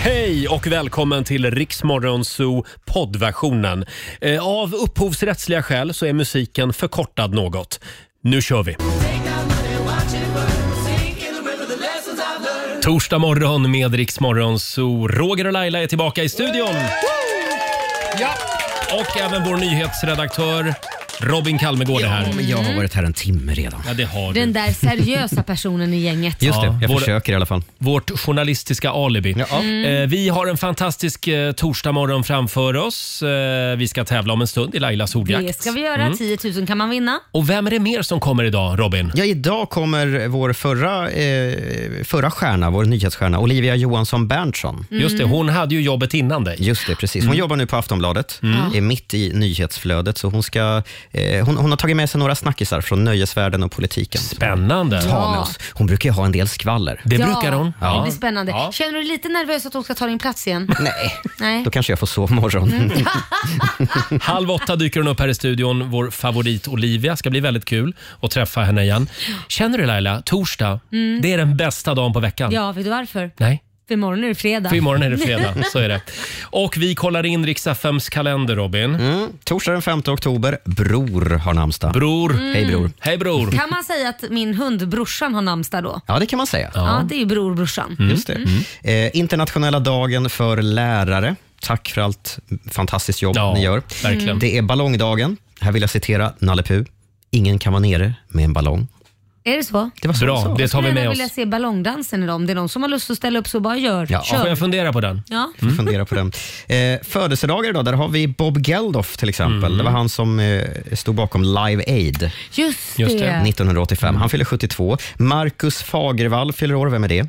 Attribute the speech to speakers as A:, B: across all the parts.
A: Hej och välkommen till Riksmorgon Zoo poddversionen. Eh, Av upphovsrättsliga skäl så är musiken förkortad något. Nu kör vi! Torsdag morgon med Riksmorgon Zoo. Roger och Laila är tillbaka i studion.
B: Ja.
A: Och även vår nyhetsredaktör Robin Kalmegård är här. Mm.
C: men jag har varit här en timme redan.
A: Ja, det har du.
D: Den där seriösa personen i gänget.
C: Just det, jag
A: vår-
C: försöker i alla fall.
A: Vårt journalistiska alibi.
C: Ja.
A: Eh, Vi har en fantastisk eh, torsdagmorgon framför oss. Eh, Vi ska tävla om en stund i Lailas ordjakt. Mm.
D: Det ska vi göra. 10 000 kan man vinna.
A: Och vem är det mer som kommer idag, Robin?
C: Ja, idag kommer vår förra, eh, förra stjärna, vår nyhetsstjärna, Olivia Johansson Berntsson.
A: Mm. Just det, hon hade ju jobbet innan dig. Mm.
C: Just det, precis. Hon jobbar nu på Aftonbladet, är mitt i nyhetsflödet. Så hon, ska, eh, hon, hon har tagit med sig några snackisar från nöjesvärlden och politiken.
A: Spännande.
C: Ta med oss. Hon brukar ju ha en del skvaller.
A: Det brukar hon.
D: Det blir spännande.
A: Ja.
D: Känner du dig lite nervös att hon ska ta din plats igen?
C: Nej,
D: Nej.
C: då kanske jag får sova imorgon.
A: Mm.
D: Mm.
A: Halv åtta dyker hon upp här i studion, vår favorit Olivia. Ska bli väldigt kul att träffa henne igen. Känner du Laila, torsdag, det är den bästa dagen på veckan.
D: Mm. Ja, vet du varför?
A: Nej?
D: För imorgon är det fredag.
A: För imorgon är det fredag, så är det. Och vi kollar in Rix FMs kalender, Robin.
C: Mm. Torsdag den 5 oktober, Bror har namnsdag.
A: Bror.
D: Mm.
C: Hej Bror.
A: Hej bror.
D: Kan man säga att min hund brorsan har namnsdag då?
C: Ja, det kan man säga.
D: Ja, det är ju bror brorsan.
A: Mm.
D: Mm.
C: Just det. Eh, internationella dagen för lärare. Tack för allt fantastiskt jobb
A: Ja,
C: ni gör.
A: verkligen. Mm.
C: Det är ballongdagen. Här vill jag citera Nalle Puh. Ingen kan vara nere med en ballong.
D: Är det så?
C: Det var så han
A: Bra,
C: sa.
A: det tar vi
D: Jag
A: med
D: skulle
A: oss.
D: vilja se ballongdansen idag om det är någon som har lust att ställa upp så bara gör.
C: Ja, Mm.
A: Ja, får
D: Kör.
A: jag fundera på den?
D: Ja.
C: Får fundera på den. Eh, födelsedagar idag, där har vi Bob Geldof till exempel.
A: Mm.
C: Det var han som eh, stod bakom Live Aid
D: Just,
A: Just det. Mm.
D: det.
C: 1985. Han fyller 72. Marcus Fagervall fyller år, vem är det?
A: Eh,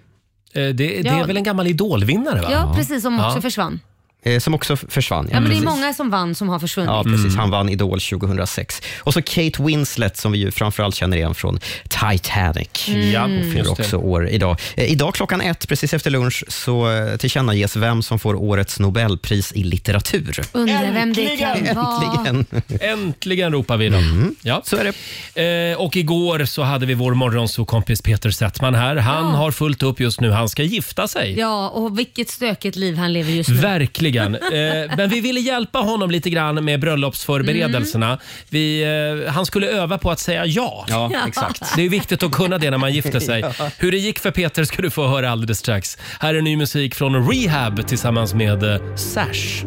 A: Det, det
D: Ja.
A: är väl en gammal idolvinnare? Va?
D: Ja, precis. Som också
A: Ja.
D: försvann.
C: Eh, som också f- försvann.
D: Ja, men det är
C: precis.
D: många som vann som har försvunnit. Mm.
C: Ja, precis.
A: Mm.
C: Han vann Idol 2006. Och så Kate Winslet, som vi ju framförallt känner igen från Titanic.
A: Ja,
C: Hon fyller
A: just det.
C: också år idag. Eh, idag klockan ett, precis efter lunch, så eh, tillkännages vem som får årets Nobelpris i litteratur.
D: Undrar vem det kan vara.
C: Äntligen!
A: Ah. Äntligen ropar vi då. Ja.
C: Mm. Så är det.
A: Eh, och igår så hade vi vår morgonsokompis Peter Settman här. Han har fullt upp just nu. Han ska gifta sig.
D: Ja, och vilket stökigt liv han lever just nu.
A: Verkligen. Eh, men vi ville hjälpa honom lite grann med bröllopsförberedelserna. Vi, eh, han skulle öva på att säga ja.
C: Ja, exakt.
A: Det är viktigt att kunna det när man gifter sig. Hur det gick för Peter ska du få höra alldeles strax. Här är ny musik från Rehab tillsammans med eh, Sash.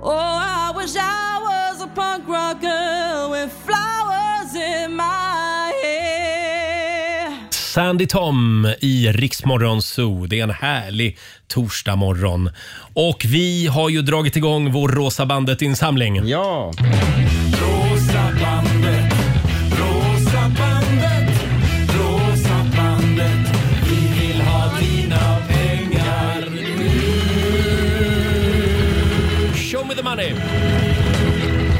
E: Oh, I wish I was a punk rock girl with flowers in my hair.
A: Sandy Tom i Riksmorgon Zoo. Det är en härlig torsdagmorgon. Och vi har ju dragit igång vår Rosa bandet-insamling.
C: Ja,
F: Rosa bandet, rosa bandet, rosa bandet. Vi vill ha dina pengar.
A: Show me the money!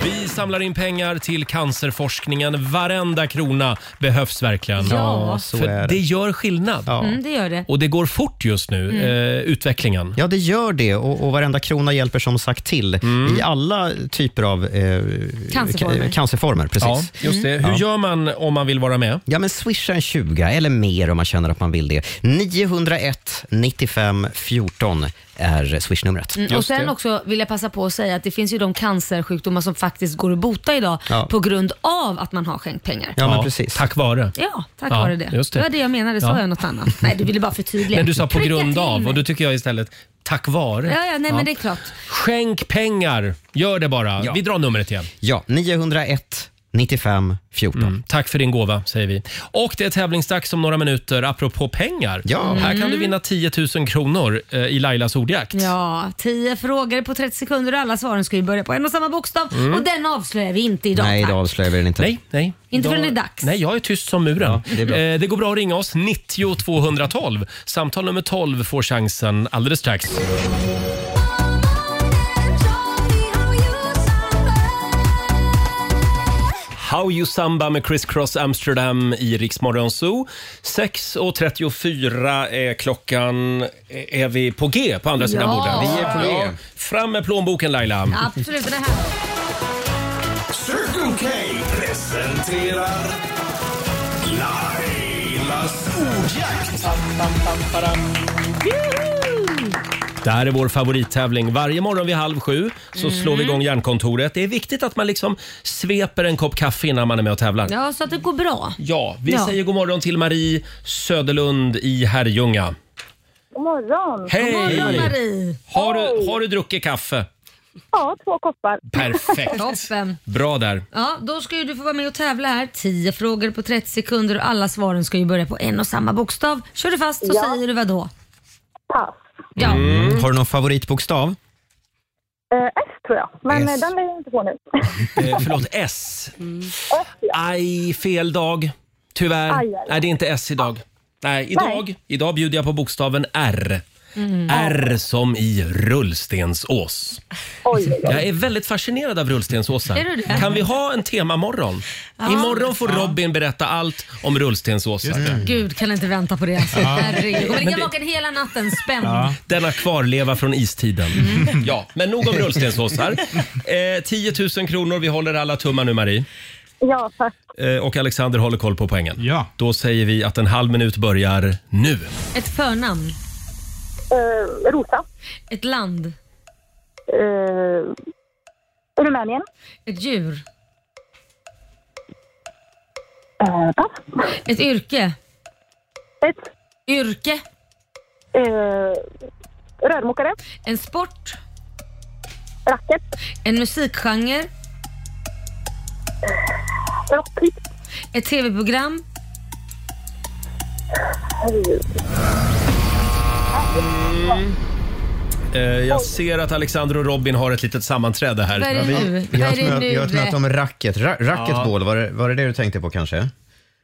A: Vi samlar in pengar till cancerforskningen. Varenda krona behövs verkligen.
C: Ja, så
A: För
C: är
A: det
C: det.
A: gör skillnad.
D: Mm, det gör det.
A: Och det går fort just nu, eh, utvecklingen.
C: ja det gör det. Och, och varenda krona hjälper som sagt till
A: Mm.
C: i alla typer av eh,
D: Cancerformer.
C: ca- cancerformer. Precis. Mm.
A: Ja, just det. Hur gör man om man vill vara med?
C: Ja, men swisha en 20 eller mer om man känner att man vill det. 901 95 14 är swishnumret.
D: Mm, och sen
A: det.
D: också vill jag passa på att säga att det finns ju de cancersjukdomar som faktiskt går att bota idag
C: Ja.
D: på grund av att man har skänkt pengar. Ja,
C: Ja, men precis.
A: Tack vare.
D: tack
A: Ja,
D: vare det.
A: just det.
D: var det jag menade, sa
A: Ja.
D: jag något annat? Nej, du ville bara förtydliga.
A: Men du sa på
D: Trycka
A: grund
D: till
A: av
D: mig.
A: och då tycker jag istället tack vare.
D: Ja, ja, nej men det är klart.
A: Skänk pengar. Gör det bara.
C: Ja.
A: Vi drar numret igen. Mm,
C: Ja, 901 95 14.
A: Tack för din gåva, säger vi. Och det är tävlingsdags om några minuter, apropå pengar.
C: Ja.
A: Här kan du vinna 10 000 kronor eh, i Lailas ordjakt.
D: Ja, 10 frågor på 30 sekunder och alla svaren ska ju börja på en och samma bokstav och den avslöjar vi inte idag.
C: Mm. Nej,
D: tack.
C: det avslöjar vi den inte.
A: Nej, nej.
D: Inte förrän
A: Idag-
D: det är dags.
A: Nej, jag är tyst som muren.
C: Ja, det är bra.
A: Eh, det går bra att ringa oss. 90 212. Samtal nummer 12 får chansen alldeles strax. How You Samba med Chris Cross Amsterdam i Rix Morgon Zoo. 6.34 är klockan. Är vi på G på andra sidan
D: Ja.
A: bordet?
C: Vi är på G.
A: Fram med plånboken Laila.
D: Absolut, och det här.
F: Circle K presenterar Lailas ordjakt.
A: Det här är vår favorittävling. Varje morgon vid halv sju så
D: Mm.
A: slår vi igång Hjärnkontoret. Det är viktigt att man liksom sveper en kopp kaffe innan man är med och tävlar.
D: Ja, så att det går bra.
A: Ja, vi
D: Ja.
A: säger god morgon till Marie Söderlund i Herrljunga.
G: God morgon!
A: Hej!
G: God morgon,
D: Marie!
A: Har du, har du druckit kaffe?
G: Ja, två koppar.
A: Perfekt.
D: Toppen.
A: Bra där.
D: Ja, då ska ju du få vara med och tävla här. 10 frågor på 30 sekunder och alla svaren ska ju börja på en och samma bokstav. Kör du fast så
G: Ja.
D: säger du vad då? Ja.
C: Mm. Har du någon favoritbokstav?
G: Eh, S tror jag, men
C: S.
G: eh, den är jag inte på nu.
A: Eh, förlåt, S. Aj, fel dag. Tyvärr.
G: Mm. Aj, aj, aj.
A: Nej, det är inte S idag. Nej, idag,
G: Nej.
A: idag bjuder jag på bokstaven R.
E: Mm.
D: Mm.
A: R som i rullstensås. Jag är väldigt fascinerad av rullstensåsar.
D: Är du det?
A: Kan vi ha en temamorgon?
D: Ja.
A: Imorgon får Robin berätta allt om rullstensåsar.
D: Gud, kan inte vänta på det alltså.
A: Mm. Ja.
D: Herregud. Jag kommer
A: Men
D: ligga
A: det-
D: vaken hela natten spänd.
A: Denna kvarleva från istiden.
D: Mm.
A: Ja, men nog om rullstensåsar. Eh, 10 000 kronor, vi håller alla tummar nu Marie.
G: Ja, tack.
A: Eh, och Alexander håller koll på poängen. Ja. Då säger vi att en halv minut börjar nu.
D: Ett förnamn.
G: Eh, Rosa. Eh,
D: Ett land.
G: Rumänien.
D: Ett djur. Ett yrke.
G: Eh, Ett. Eh,
D: Yrke.
G: Rörmokare.
D: En sport.
G: Racket.
D: En musikgenre.
G: Rock.
D: Ett tv-program.
A: Eh, jag ser att Alexander och Robin har ett litet sammanträde här.
D: Vad är det Ja, vi- nu?
C: Vi har ett,
D: Vad är det
C: möte- vi har ett
D: nu?
C: möte om racket. Ra racketboll,
A: Ja.
C: var, det, var det det du tänkte på kanske?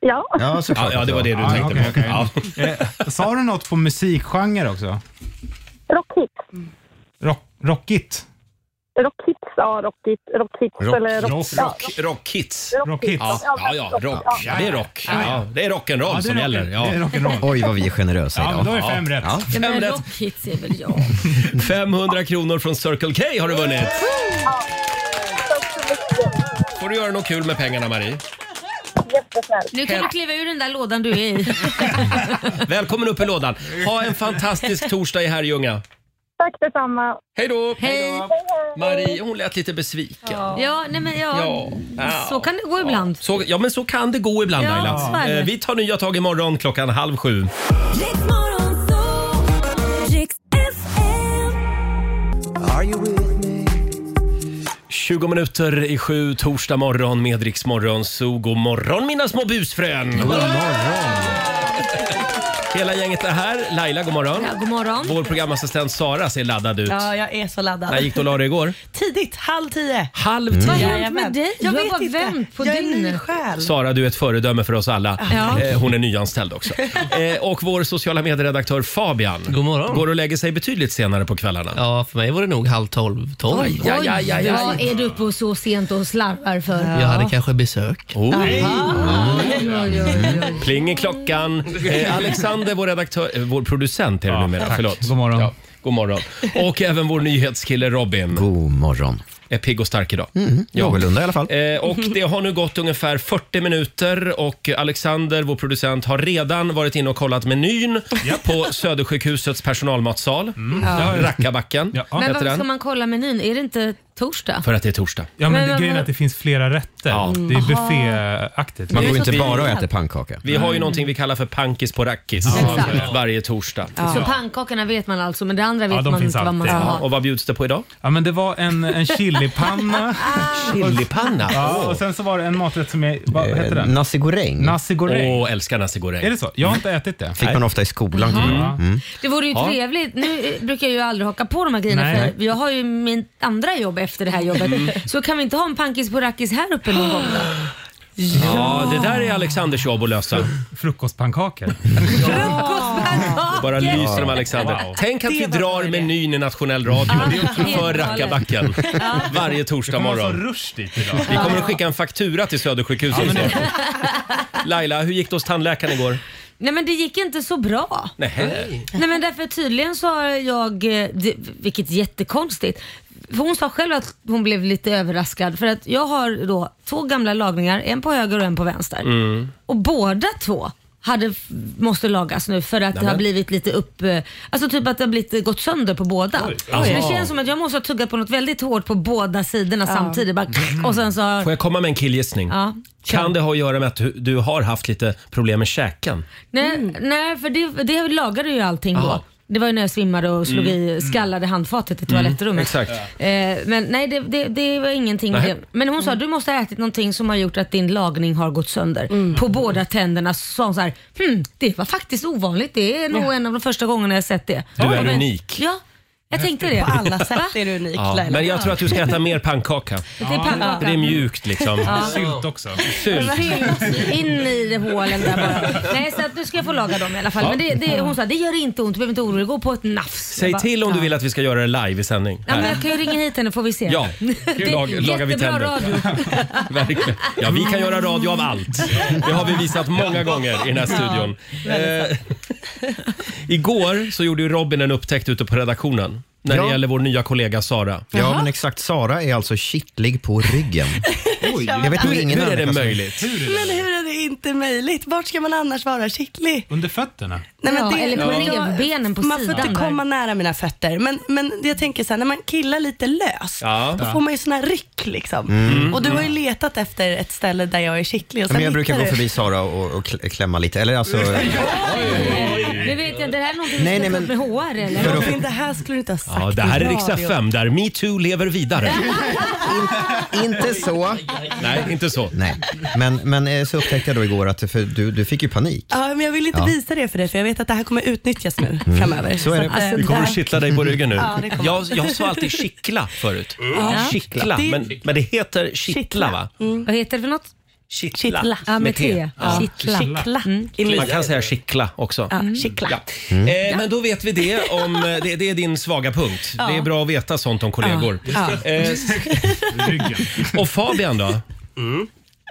G: Ja.
C: Ja, såklart.
A: Ja, ja, det var det du
C: Ja,
A: tänkte
C: okej,
A: på.
C: okej.
A: Ja.
H: Eh, Sa du något på musikgenre också?
G: Rockigt.
H: Rock, rockigt?
G: Rockhits. Ja, rockigt. Rockhits. eller rock, ja,
A: rock, rock hits.
G: Rock hits.
A: Ja, ja, ja, rock.
G: Ja.
A: Det är rock.
G: Ja,
A: Ja,
G: ja.
A: Det är rock'n'roll
H: Ja, det är
A: som
H: rock-
A: gäller. Ja.
H: det är rock'n'roll.
C: Oj, vad vi är generösa
H: Ja,
C: idag.
H: men då är det fem rätt.
C: Ja.
D: Ja, men
A: Fem rätt.
D: Rockhits är väl jag.
A: 500 kronor från Circle K har du vunnit. Får du göra något kul med pengarna Marie.
D: Nu kan du kliva ur den där lådan du är i.
A: Välkommen upp i lådan. Ha en fantastisk torsdag i Herrljunga.
G: Tack detsamma.
A: Hej då!
D: Hej.
A: Marie, hon lät lite besviken.
D: Ja, nej men ja.
A: Ja.
D: Så kan det gå ibland.
A: Så, ja, men så kan det gå ibland
D: Ja,
A: Laila.
D: tyvärr.
A: Eh, vi tar nya tag imorgon klockan halv sju.
F: Are you with me?
A: 20 minuter i sju, torsdag morgon med Rix Morgon. Så god morgon mina små busfrön! God morgon! Hela gänget är här. Laila, god morgon.
I: Ja, god morgon.
A: Vår programassistent Sara ser laddad ut.
I: Ja, jag är så laddad.
A: När gick du och la dig igår?
I: Tidigt, halv tio.
A: Halv tio?
I: Vad har hänt
D: Jajamän.
I: med dig?
D: Jag
I: Jag,
D: har
I: vet
D: bara
I: inte.
D: vänt på
I: jag är
D: dygnet.
I: ny själ.
A: Sara, du är ett föredöme för oss alla.
I: Ja.
A: Eh, Hon är nyanställd också. Eh, Och vår sociala medieredaktör Fabian. God morgon. Går och lägger sig betydligt senare på kvällarna. Ja, för mig var det nog halv tolv.
D: Oj, oj,
A: Ja, ja, ja, ja.
D: Vad är du uppe och så sent och slarvar för?
J: Jag hade kanske besök.
A: Pling i klockan. Eh, Alexander, vår, redaktör, eh, vår producent är det numera.
H: tack.
A: Förlåt. God morgon. Ja, god morgon. Och även vår nyhetskille Robin. God morgon. Är pigg och stark idag.
C: Mm-hmm.
A: Mm,
C: någorlunda i alla fall.
A: Eh, och det har nu gått ungefär 40 minuter och Alexander, vår producent, har redan varit inne och kollat menyn på Södersjukhusets personalmatsal.
H: Mm.
D: Ja.
A: Rackabacken
D: Men
A: heter
D: varför ska
A: den.
D: man kolla menyn? Är det inte torsdag?
A: För att det är torsdag.
H: Ja, men,
D: Men
H: det,
D: vad-
H: grejen är att det finns flera rätter. Det är
D: Aha.
H: bufféaktigt.
D: Man går inte bara och äter
C: pannkaka.
A: Vi har ju någonting vi kallar för pankis på rackis
D: Ja. Exakt.
A: varje torsdag.
D: Så pannkakorna vet man alltså, men det andra vet
H: de
D: man
H: finns
D: inte vad man ska
H: alltid.
D: ha.
A: Och vad bjuds det på idag?
H: Ja, men det var en, en chilipanna.
A: Chilipanna?
H: Ja, och sen så var det en maträtt som jag... Vad
C: Eh,
H: hette den?
C: Nasi goreng.
H: Nasi goreng.
A: Åh, älskar nasi goreng.
H: Är det så? Jag har inte ätit det.
C: Fick man ofta i skolan.
H: Mm.
C: Mm.
D: Det vore ju
C: Ja.
D: trevligt. Nu eh, brukar jag ju aldrig haka på de här grejerna
C: Nej.
D: för jag har ju min andra jobb efter det här jobbet.
A: Mm.
D: Så kan vi inte ha en pankis på rackis här uppe någon gång då?
A: Ja, det där är Alexanders jobb att lösa.
H: Frukostpannkakor.
A: Det bara lyser om Alexander.
H: Wow.
A: Tänk att vi drar menyn i nationell radio för Rackabacken varje torsdag morgon.
H: rush dit idag.
A: Vi kommer att skicka en faktura till Södersjukhuset. Laila, hur gick det hos tandläkaren igår?
D: Nej men det gick inte så bra.
A: Nej.
D: Nej men därför tydligen så har jag, eh, det- vilket är jättekonstigt, för hon sa själv att hon blev lite överraskad för
A: Mm.
D: att jag har då två gamla lagningar, en på höger och en på vänster. Och båda två hade, f- måste lagas nu för att det har
A: Nämen.
D: blivit lite upp... eh, Alltså typ att det har blivit, gått sönder på båda. Så det
A: Aha.
D: känns som att jag måste ha tuggat på något väldigt hårt på båda sidorna samtidigt. Bara, och sen så... har-
A: Får jag komma med en killgissning?
D: Ja.
A: Kan det ha att göra med att du, du har haft lite problem med käken?
D: Nej, nej för det, det lagade ju allting
A: Mm. Aha.
D: då. Det var ju när jag svimmade och slog
A: Mm.
D: i, skallade handfatet i
A: Mm,
D: toalettrummet.
A: exakt.
D: Eh, men nej, det, det, det var ingenting.
A: Nej. Mm.
D: Men hon sa du måste ha ätit någonting som har gjort att din lagning har gått sönder.
A: Mm.
D: På båda tänderna så sa hon så här, hm, det var faktiskt ovanligt. Det är nog en av de första gångerna jag sett det.
A: Du är
D: Ja, men-
A: unik.
D: Ja, jag tänkte det.
I: På alla sätt är du unik
A: Ja,
I: Laila.
A: men jag tror att du ska äta mer pannkaka.
D: Det är pannkaka.
A: För det är mjukt liksom.
D: Ja.
H: Sylt också.
A: Sylt.
D: Alltså, In i det hålen där bara. Nej, så att du ska få laga dem i alla fall.
A: Ja.
D: Men det, det, hon sa, det gör inte ont, du behöver inte oroa dig, gå på ett nafs. Jag
A: Säg
D: bara,
A: till om du
D: ja.
A: vill att vi ska göra det live i sändning.
D: Ja, men
A: Här.
D: jag kan ju ringa hit henne får vi se.
A: Ja,
D: det är
A: lag- lagar vi
D: jättebra
A: tänder.
D: radio.
A: Verkligen. Ja, vi kan göra radio av allt. Det har vi visat många gånger i den här
I: Ja,
A: studion.
I: väldigt
A: Eh, igår så gjorde ju Robin en upptäckt ute på redaktionen när det
C: Ja.
A: gäller vår nya kollega Sara.
C: Ja, men exakt. Sara är alltså kittlig på ryggen. Jag vet nog
A: Hur-
C: ingen
A: hur är det
C: människa som-
A: möjligt?
I: Men hur är det inte möjligt? Vart ska man annars vara kittlig?
H: Under fötterna.
I: Nej, men
D: Ja,
I: det-
D: eller på
I: då-
D: revbenen på
I: Man får
D: sidan
I: inte
D: där.
I: komma nära mina fötter. Men, men jag tänker så här, när man killar lite löst,
A: Ja.
I: då får man ju såna här ryck liksom. Och du har ju letat efter ett ställe där jag är kittlig. Och
C: Mm. Ja,
I: sen
C: Men jag brukar
I: hittar
C: gå
I: du.
C: förbi Sara och, och kl- klämma lite. Eller alltså,
D: Nu vet jag inte, det här är någonting vi
C: Nej,
D: ska
C: nej,
D: ta
C: men-
D: upp med HR eller?
I: Robin, det här skulle du inte ha sagt
A: Ja, det här är
I: i
A: riksdag
I: radio.
A: 5 där metoo lever vidare.
C: inte så.
A: Nej, inte så.
C: Nej. Men, men eh, så upptäckte jag då igår att för du, du fick ju panik.
I: Ja, men jag vill inte
C: Ja. Mm.
I: visa det för dig för jag vet att det här kommer utnyttjas nu framöver.
C: Så är det.
I: att, eh,
A: Det kommer
I: där-
A: att kittla dig på ryggen nu.
I: Ja, det kommer.
A: Jag, jag sa alltid kittla förut. Kittla,
I: Det-
A: men, men det heter kittla va?
D: Mm. Vad heter det för något?
I: Kittla.
D: Ja, med T. Mm.
A: Ja.
D: Kittla.
I: Kittla.
A: Man kan säga kittla också.
I: Kittla.
A: Ja. Eh, men då vet vi det. Om, eh, det, det är din svaga punkt. Det är bra att veta sånt om kollegor. Eh, och Fabian då?
J: Mm.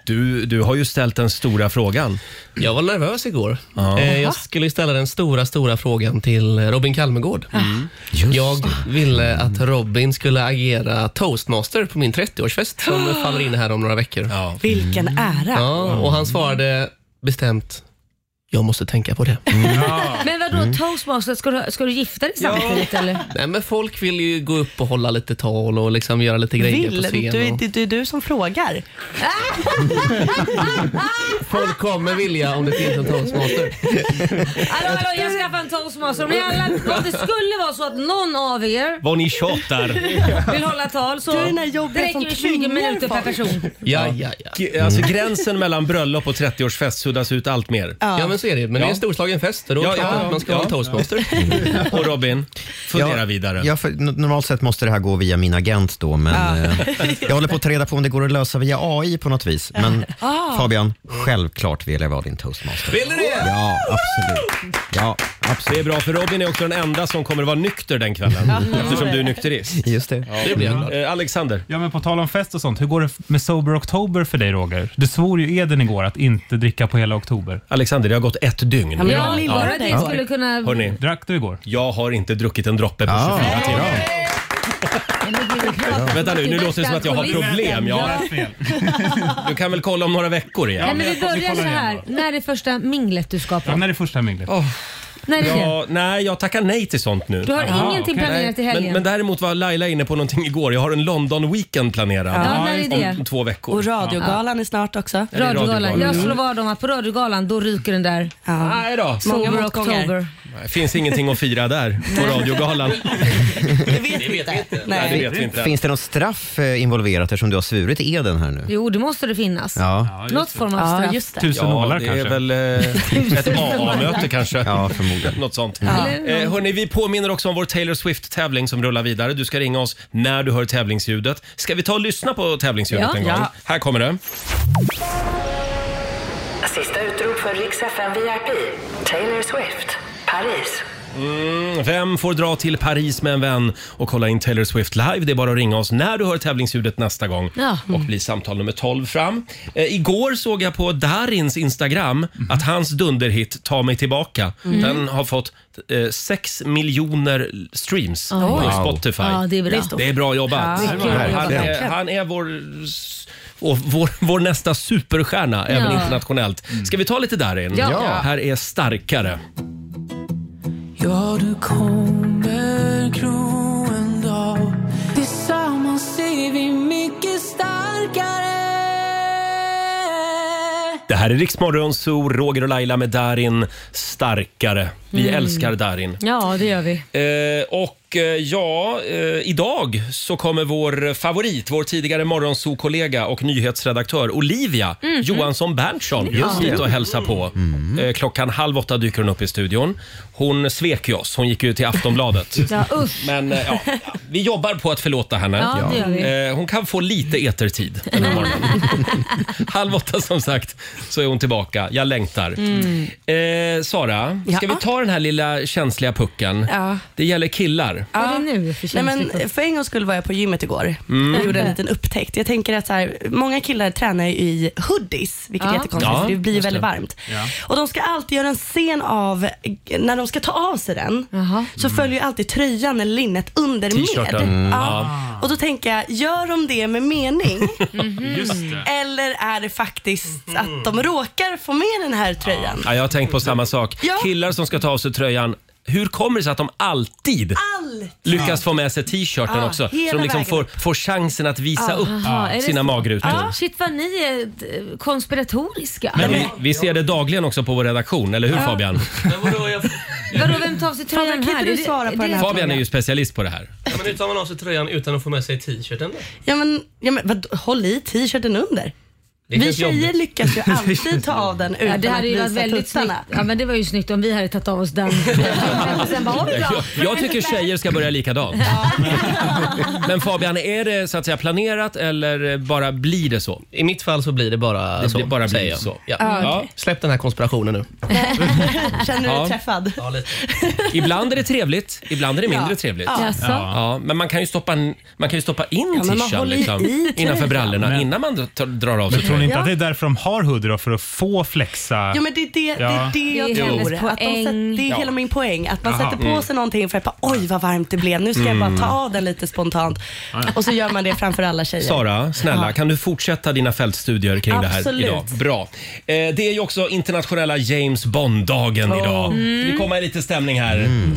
A: Du, du har ju ställt den stora frågan.
J: Jag var nervös igår. Eh, Jag skulle ju ställa den stora, stora frågan till Robin Kalmegård.
I: Mm.
J: Jag ville att Robin skulle agera toastmaster på min 30-årsfest som faller in här om några veckor. Ja.
I: Vilken ära.
J: och han svarade bestämt, jag måste tänka på det.
I: Mm.
D: Men vadå toastmaster, ska du, ska du gifta dig samtidigt eller?
J: Nej, men folk vill ju gå upp och hålla lite tal och liksom göra lite grejer på
I: Vill,
J: scen.
I: du,
J: och...
I: det, det är du som frågar.
J: Folk kommer vilja om det finns en toastmaster.
D: Hallå, hallå, jag skaffar en toastmaster. Om, ni alla, om det skulle vara så att någon av er
A: Vad ni tjatar.
D: vill hålla tal så
I: Du är den här
D: det
I: jobbiga
D: räcker
I: som
D: med 20
I: tvingar
D: minuter per
I: folk.
D: person.
J: Ja, ja, ja.
A: G- Alltså, gränsen mellan bröllop och 30-årsfest suddas ut allt mer.
J: Ja, men så är det. Men det är en storslagen fest och då
A: Ja,
J: är det klart
A: ja,
J: att man ska
A: ja.
J: ha en toastmaster.
A: Och Robin, fundera
C: Ja,
A: vidare.
C: Ja, för, n- normalt sett måste det här gå via min agent då, men eh, jag håller på att ta reda på om det går att lösa via AI på något vis. Men Fabian, självklart vill jag vara din toastmaster.
A: Vill du det?
C: Ja, absolut. Ja,
A: Det är
C: absolut.
A: bra för Robin är också den enda som kommer att vara nykter den kvällen. Eftersom du är nykterist.
C: Just det.
J: Det blir jag glad.
A: Eh, Alexander.
H: Ja, men på tal om fest och sånt, hur går det med Sober October för dig Roger? Du svor ju eden igår att inte dricka på hela oktober.
A: Alexander, det har gått ett dygn.
I: men jag
D: Ja,
I: vill
D: bara
I: vara
D: det
I: dig.
D: skulle kunna...
A: Hörrni,
H: Drack du igår?
A: jag har inte druckit en droppe på 24 timmar. Vänta nu, nu låter det som att jag har problem. Ja,
H: Fel.
A: du kan väl kolla om några veckor
D: Nej,
A: igen?
D: men vi börjar så här. När är första minglet du ska
H: Ja,
D: på?
H: när är det första minglet?
D: När är det?
A: Ja, nej, jag tackar nej till sånt nu.
D: Du har
H: Jaha,
D: ingenting
H: okej.
D: planerat i helgen?
A: Men, men däremot var Laila inne på någonting igår. Jag har en London-weekend planerad.
D: ja, när är det?
A: Om två veckor.
I: Och radiogalan är snart också.
A: det
D: Radiogalan.
A: Radiogalan? Mm.
D: Jag slår vad om att på Radiogalan då ryker den där
I: Ja.
A: Nej då.
I: Många
D: Sober
I: motgångar.
D: October.
A: Det finns ingenting att fira där på radiogalan.
I: Det vet vi inte.
A: Nej,
I: Nej.
A: det vet vi inte.
C: Finns det något straff eh, involverat eftersom du har svurit eden här nu?
D: Jo, det måste det finnas.
C: Ja,
D: Något form av
I: Ja,
D: straff.
I: just det.
H: Tusen
A: Ja,
H: nålar
A: det
H: kanske?
A: är väl eh, ett AA-möte kanske.
C: ja förmodligen.
A: Något sånt. Eh, hörni, vi påminner också om vår Taylor Swift-tävling som rullar vidare. Du ska ringa oss när du hör tävlingsljudet. Ska vi ta och lyssna på tävlingsljudet
D: Ja.
A: en gång?
D: Ja.
A: Här kommer det.
K: Sista utrop för Rix FM VIP. Taylor Swift, Paris.
A: Mm, Vem får dra till Paris med en vän och kolla in Taylor Swift live? Det är bara att ringa oss när du hör tävlingsljudet nästa gång
D: Ja.
A: och bli samtal nummer 12 fram. Eh, igår såg jag på Darins Instagram att hans dunderhit Ta mig tillbaka, den har fått eh, 6 miljoner streams på
C: Wow.
A: Spotify.
D: Ja, det är bra.
A: Det är bra jobbat.
D: Ja, mycket bra
A: han,
D: jobbat.
A: är, han är vår s- och vår, vår nästa superstjärna, även
B: Ja.
A: internationellt. Ska vi ta lite Darin?
B: Ja. Ja.
A: Här är Starkare.
B: Ja, du kommer gro en dag Tillsammans är vi mycket starkare
A: Det här är Riksmorgon Zoo, Roger och Laila med Darin Starkare. Vi
D: Mm.
A: älskar Darin.
D: Ja, det gör vi.
A: Eh, och eh, ja, eh, idag så kommer vår favorit, vår tidigare morgonsokollega och nyhetsredaktör Olivia
D: Mhm.
B: Mm.
A: Johansson Berntsson
B: Just det.
A: hit och hälsa på. Eh, klockan halv åtta dyker hon upp i studion. Hon svek ju oss, hon gick ju till Aftonbladet.
D: Ja, usch.
A: Men eh, ja, vi jobbar på att förlåta henne.
D: Ja, det gör vi.
A: Eh, Hon kan få lite etertid den här morgonen. Halv åtta som sagt så är hon tillbaka. Jag längtar.
B: Mm.
A: Eh, Sara, ska
I: Ja.
A: vi ta den här lilla känsliga pucken?
I: Ja.
A: Det gäller killar.
I: Ja.
D: Vad är det nu
I: Nej,
D: känsligt
I: men För en gång skulle var jag på gymmet igår
A: Mm.
I: och gjorde en liten upptäckt. Jag tänker att så här, många killar tränar ju i hoodies, vilket
L: Ja.
I: är jättekonstigt
L: Ja,
I: för det blir ju
L: just
I: väldigt
L: det.
I: varmt. Och de ska alltid göra en scen av, när de ska ta av sig den, så följer ju alltid tröjan eller linnet under med.
B: T-shirten. Mm.
I: Ja.
B: Ah.
I: Och då tänker jag, gör de det med mening?
B: Just det.
I: Eller är det faktiskt att de råkar få med den här tröjan?
A: Ja, jag har tänkt på samma sak.
I: Ja.
A: Killar som ska ta av sig tröjan. Hur kommer det sig att de alltid
I: Allt!
A: lyckas få med sig t-shirten
D: Ja,
A: också?
D: hela
A: Så de liksom
D: vägen
A: får, får chansen att visa
D: Ja.
A: upp
D: Aha, Ah, är det
A: sina
D: så?
A: magrutor.
D: Ja, shit vad ni är eh, konspiratoriska.
A: Men vi, vi ser det dagligen också på vår redaktion, eller hur
D: Ja.
A: Fabian?
D: Vadå, vem tar av sig tröjan
I: Fabian, kan
D: här?
I: inte du
D: Är det-
I: svara på
D: är
I: den
D: det-
I: här
A: Fabian är ju specialist på det här.
J: Ja, men nu tar man av sig tröjan utan att få med sig t-shirten.
I: Ja men, ja, men vad, håll i t-shirten under.
J: Det
I: Vi
J: känns
I: tjejer
J: jobbigt.
I: lyckas ju alltid ta av den utan
D: Ja, det
I: att
D: hade ju
I: visa
D: varit väldigt snyggt.
I: tuttarna.
D: Ja, men det var ju snyggt om vi hade tagit av oss den. Och sen bara, "Ha det bra."
A: Jag, jag tycker tjejer ska börja likadant. Men Fabian, är det så att säga planerat eller bara blir det så?
J: I mitt fall så blir det bara
A: Det
J: så.
A: blir- bara
J: säger
A: blir
J: jag.
A: så.
J: Ja.
A: Ah, okej.
J: Ja. Släpp den här konspirationen nu.
I: Känner du
A: Ja.
I: dig träffad?
J: Ja, lite.
A: Ibland är det trevligt, ibland är det mindre
I: Ja.
A: trevligt.
I: Ja.
A: Ja.
I: Jaså?
A: men man kan ju stoppa, en- man kan ju stoppa in
I: Ja, men man
A: tishan
I: håller
A: liksom,
I: i
A: innanför
I: tröjan.
A: brallorna
H: Men-
A: innan man drar- drar av sig
H: Men tror ni inte att det
A: tröjan.
H: är därför de har hoodie då? För att få flexa?
I: Jo men det är det, det,
H: Ja.
I: är det jag
H: Det är hennes
I: tror. Att de sätter, det är
H: Ja.
I: hela min poäng. Att man
H: Jaha.
I: sätter på
H: Mm.
I: sig någonting för att bara, oj vad varmt det blev. Nu ska jag
A: Mm.
I: bara ta av den lite spontant.
A: Ja, ja.
I: Och så gör man det framför alla tjejer.
A: Sara, snälla,
I: Ja.
A: kan du fortsätta dina fältstudier kring det här
I: Absolut.
A: idag? Bra. Eh, det är ju också internationella James
I: Oh.
A: Bond-dagen idag.
B: Mm.
A: Vi kommer i lite stämning här. Mm-hmm.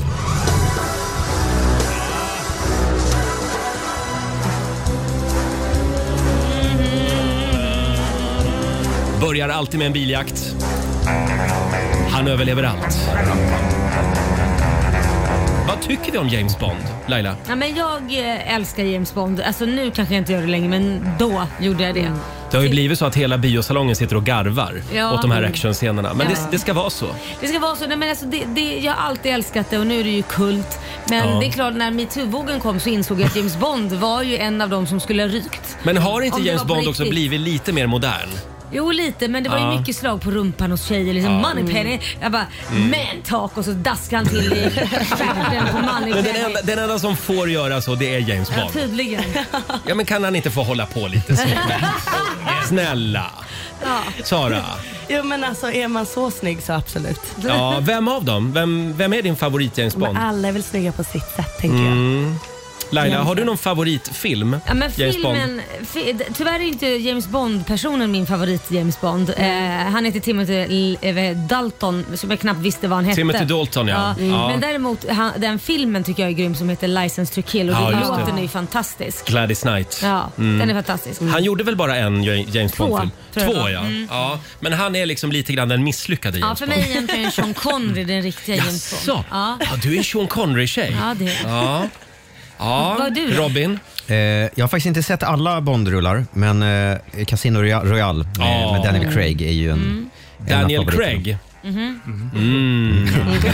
A: Börjar alltid med en biljakt. Han överlever allt. Vad tycker vi om James Bond, Laila?
D: Ja, men jag eh, älskar James Bond. Alltså nu kanske jag inte gör det längre, men då gjorde jag det.
A: Det har ju blivit så att hela biosalongen sitter och garvar
D: Ja.
A: åt de här actionscenerna. Men
D: Ja.
A: det, det ska vara så.
D: Det ska vara så. Nej, men alltså, det, det, jag har alltid älskat det och nu är det ju kult. Men
A: Ja.
D: det är klart, när metoo-vågen kom så insåg jag att James Bond var ju en av dem som skulle ha rykt.
A: Men har inte
D: Om det
A: James
D: var på
A: Bond också
D: riktigt.
A: blivit lite mer modern?
D: Jo, lite, men det var
A: Ja.
D: ju mycket slag på rumpan hos tjejer. Liksom,
A: Ja.
D: Moneypenny. Jag bara,
A: Mm.
D: man talk och så daskade han till i stjärten på
A: Men den
D: Moneypenny.
A: enda, den enda som får göra så, det är James
D: Ja,
A: Bond.
D: tydligen.
A: Ja, men kan han inte få hålla på lite så? Snälla!
I: Ja.
A: Sara,
I: Jo men alltså är man så snygg så absolut.
A: ja, vem av dem? Vem, vem är din favorit James
I: Men
A: Bond?
I: alla är väl snygga på sitt sätt tänker jag.
A: Mm. Laila, har du någon favoritfilm?
D: Ja, men
A: James Bond?
D: filmen, fi, d- tyvärr är inte James Bond-personen min favorit James Bond.
A: Mm.
D: Eh, han heter Timothy L- eh, Dalton som jag knappt visste vad han hette.
A: Timothy Dalton, ja. Mm. Ja.
D: Men däremot han, den filmen tycker jag är grym som heter License to kill och
A: Ja,
D: den
A: just det.
D: låten är ju fantastisk.
A: Gladys Knight.
D: Ja,
A: Mm.
D: den är fantastisk.
A: Han gjorde väl bara en Ja- James
D: Två,
A: Bond-film?
D: tror jag det
A: Två,
D: var.
A: ja.
D: Mm.
A: ja. Men han är liksom lite grann den misslyckade
D: Ja,
A: James
D: för
A: Bond.
D: mig är egentligen Sean Connery den riktiga James Bond.
A: Jaså?
D: Ja.
A: Ja, du är Sean Connery-tjej.
D: Ja, det är jag.
A: Ja. Ja,
D: Vad du då?
A: Robin?
C: Eh, jag har faktiskt inte sett alla Bondrullar, men eh, Casino Roya- Royale med,
A: Ja.
C: med Daniel Craig är ju en...
A: Mm.
C: en av
A: Daniel
C: favoriterna.
A: Craig?
D: Mhm.
A: Mm.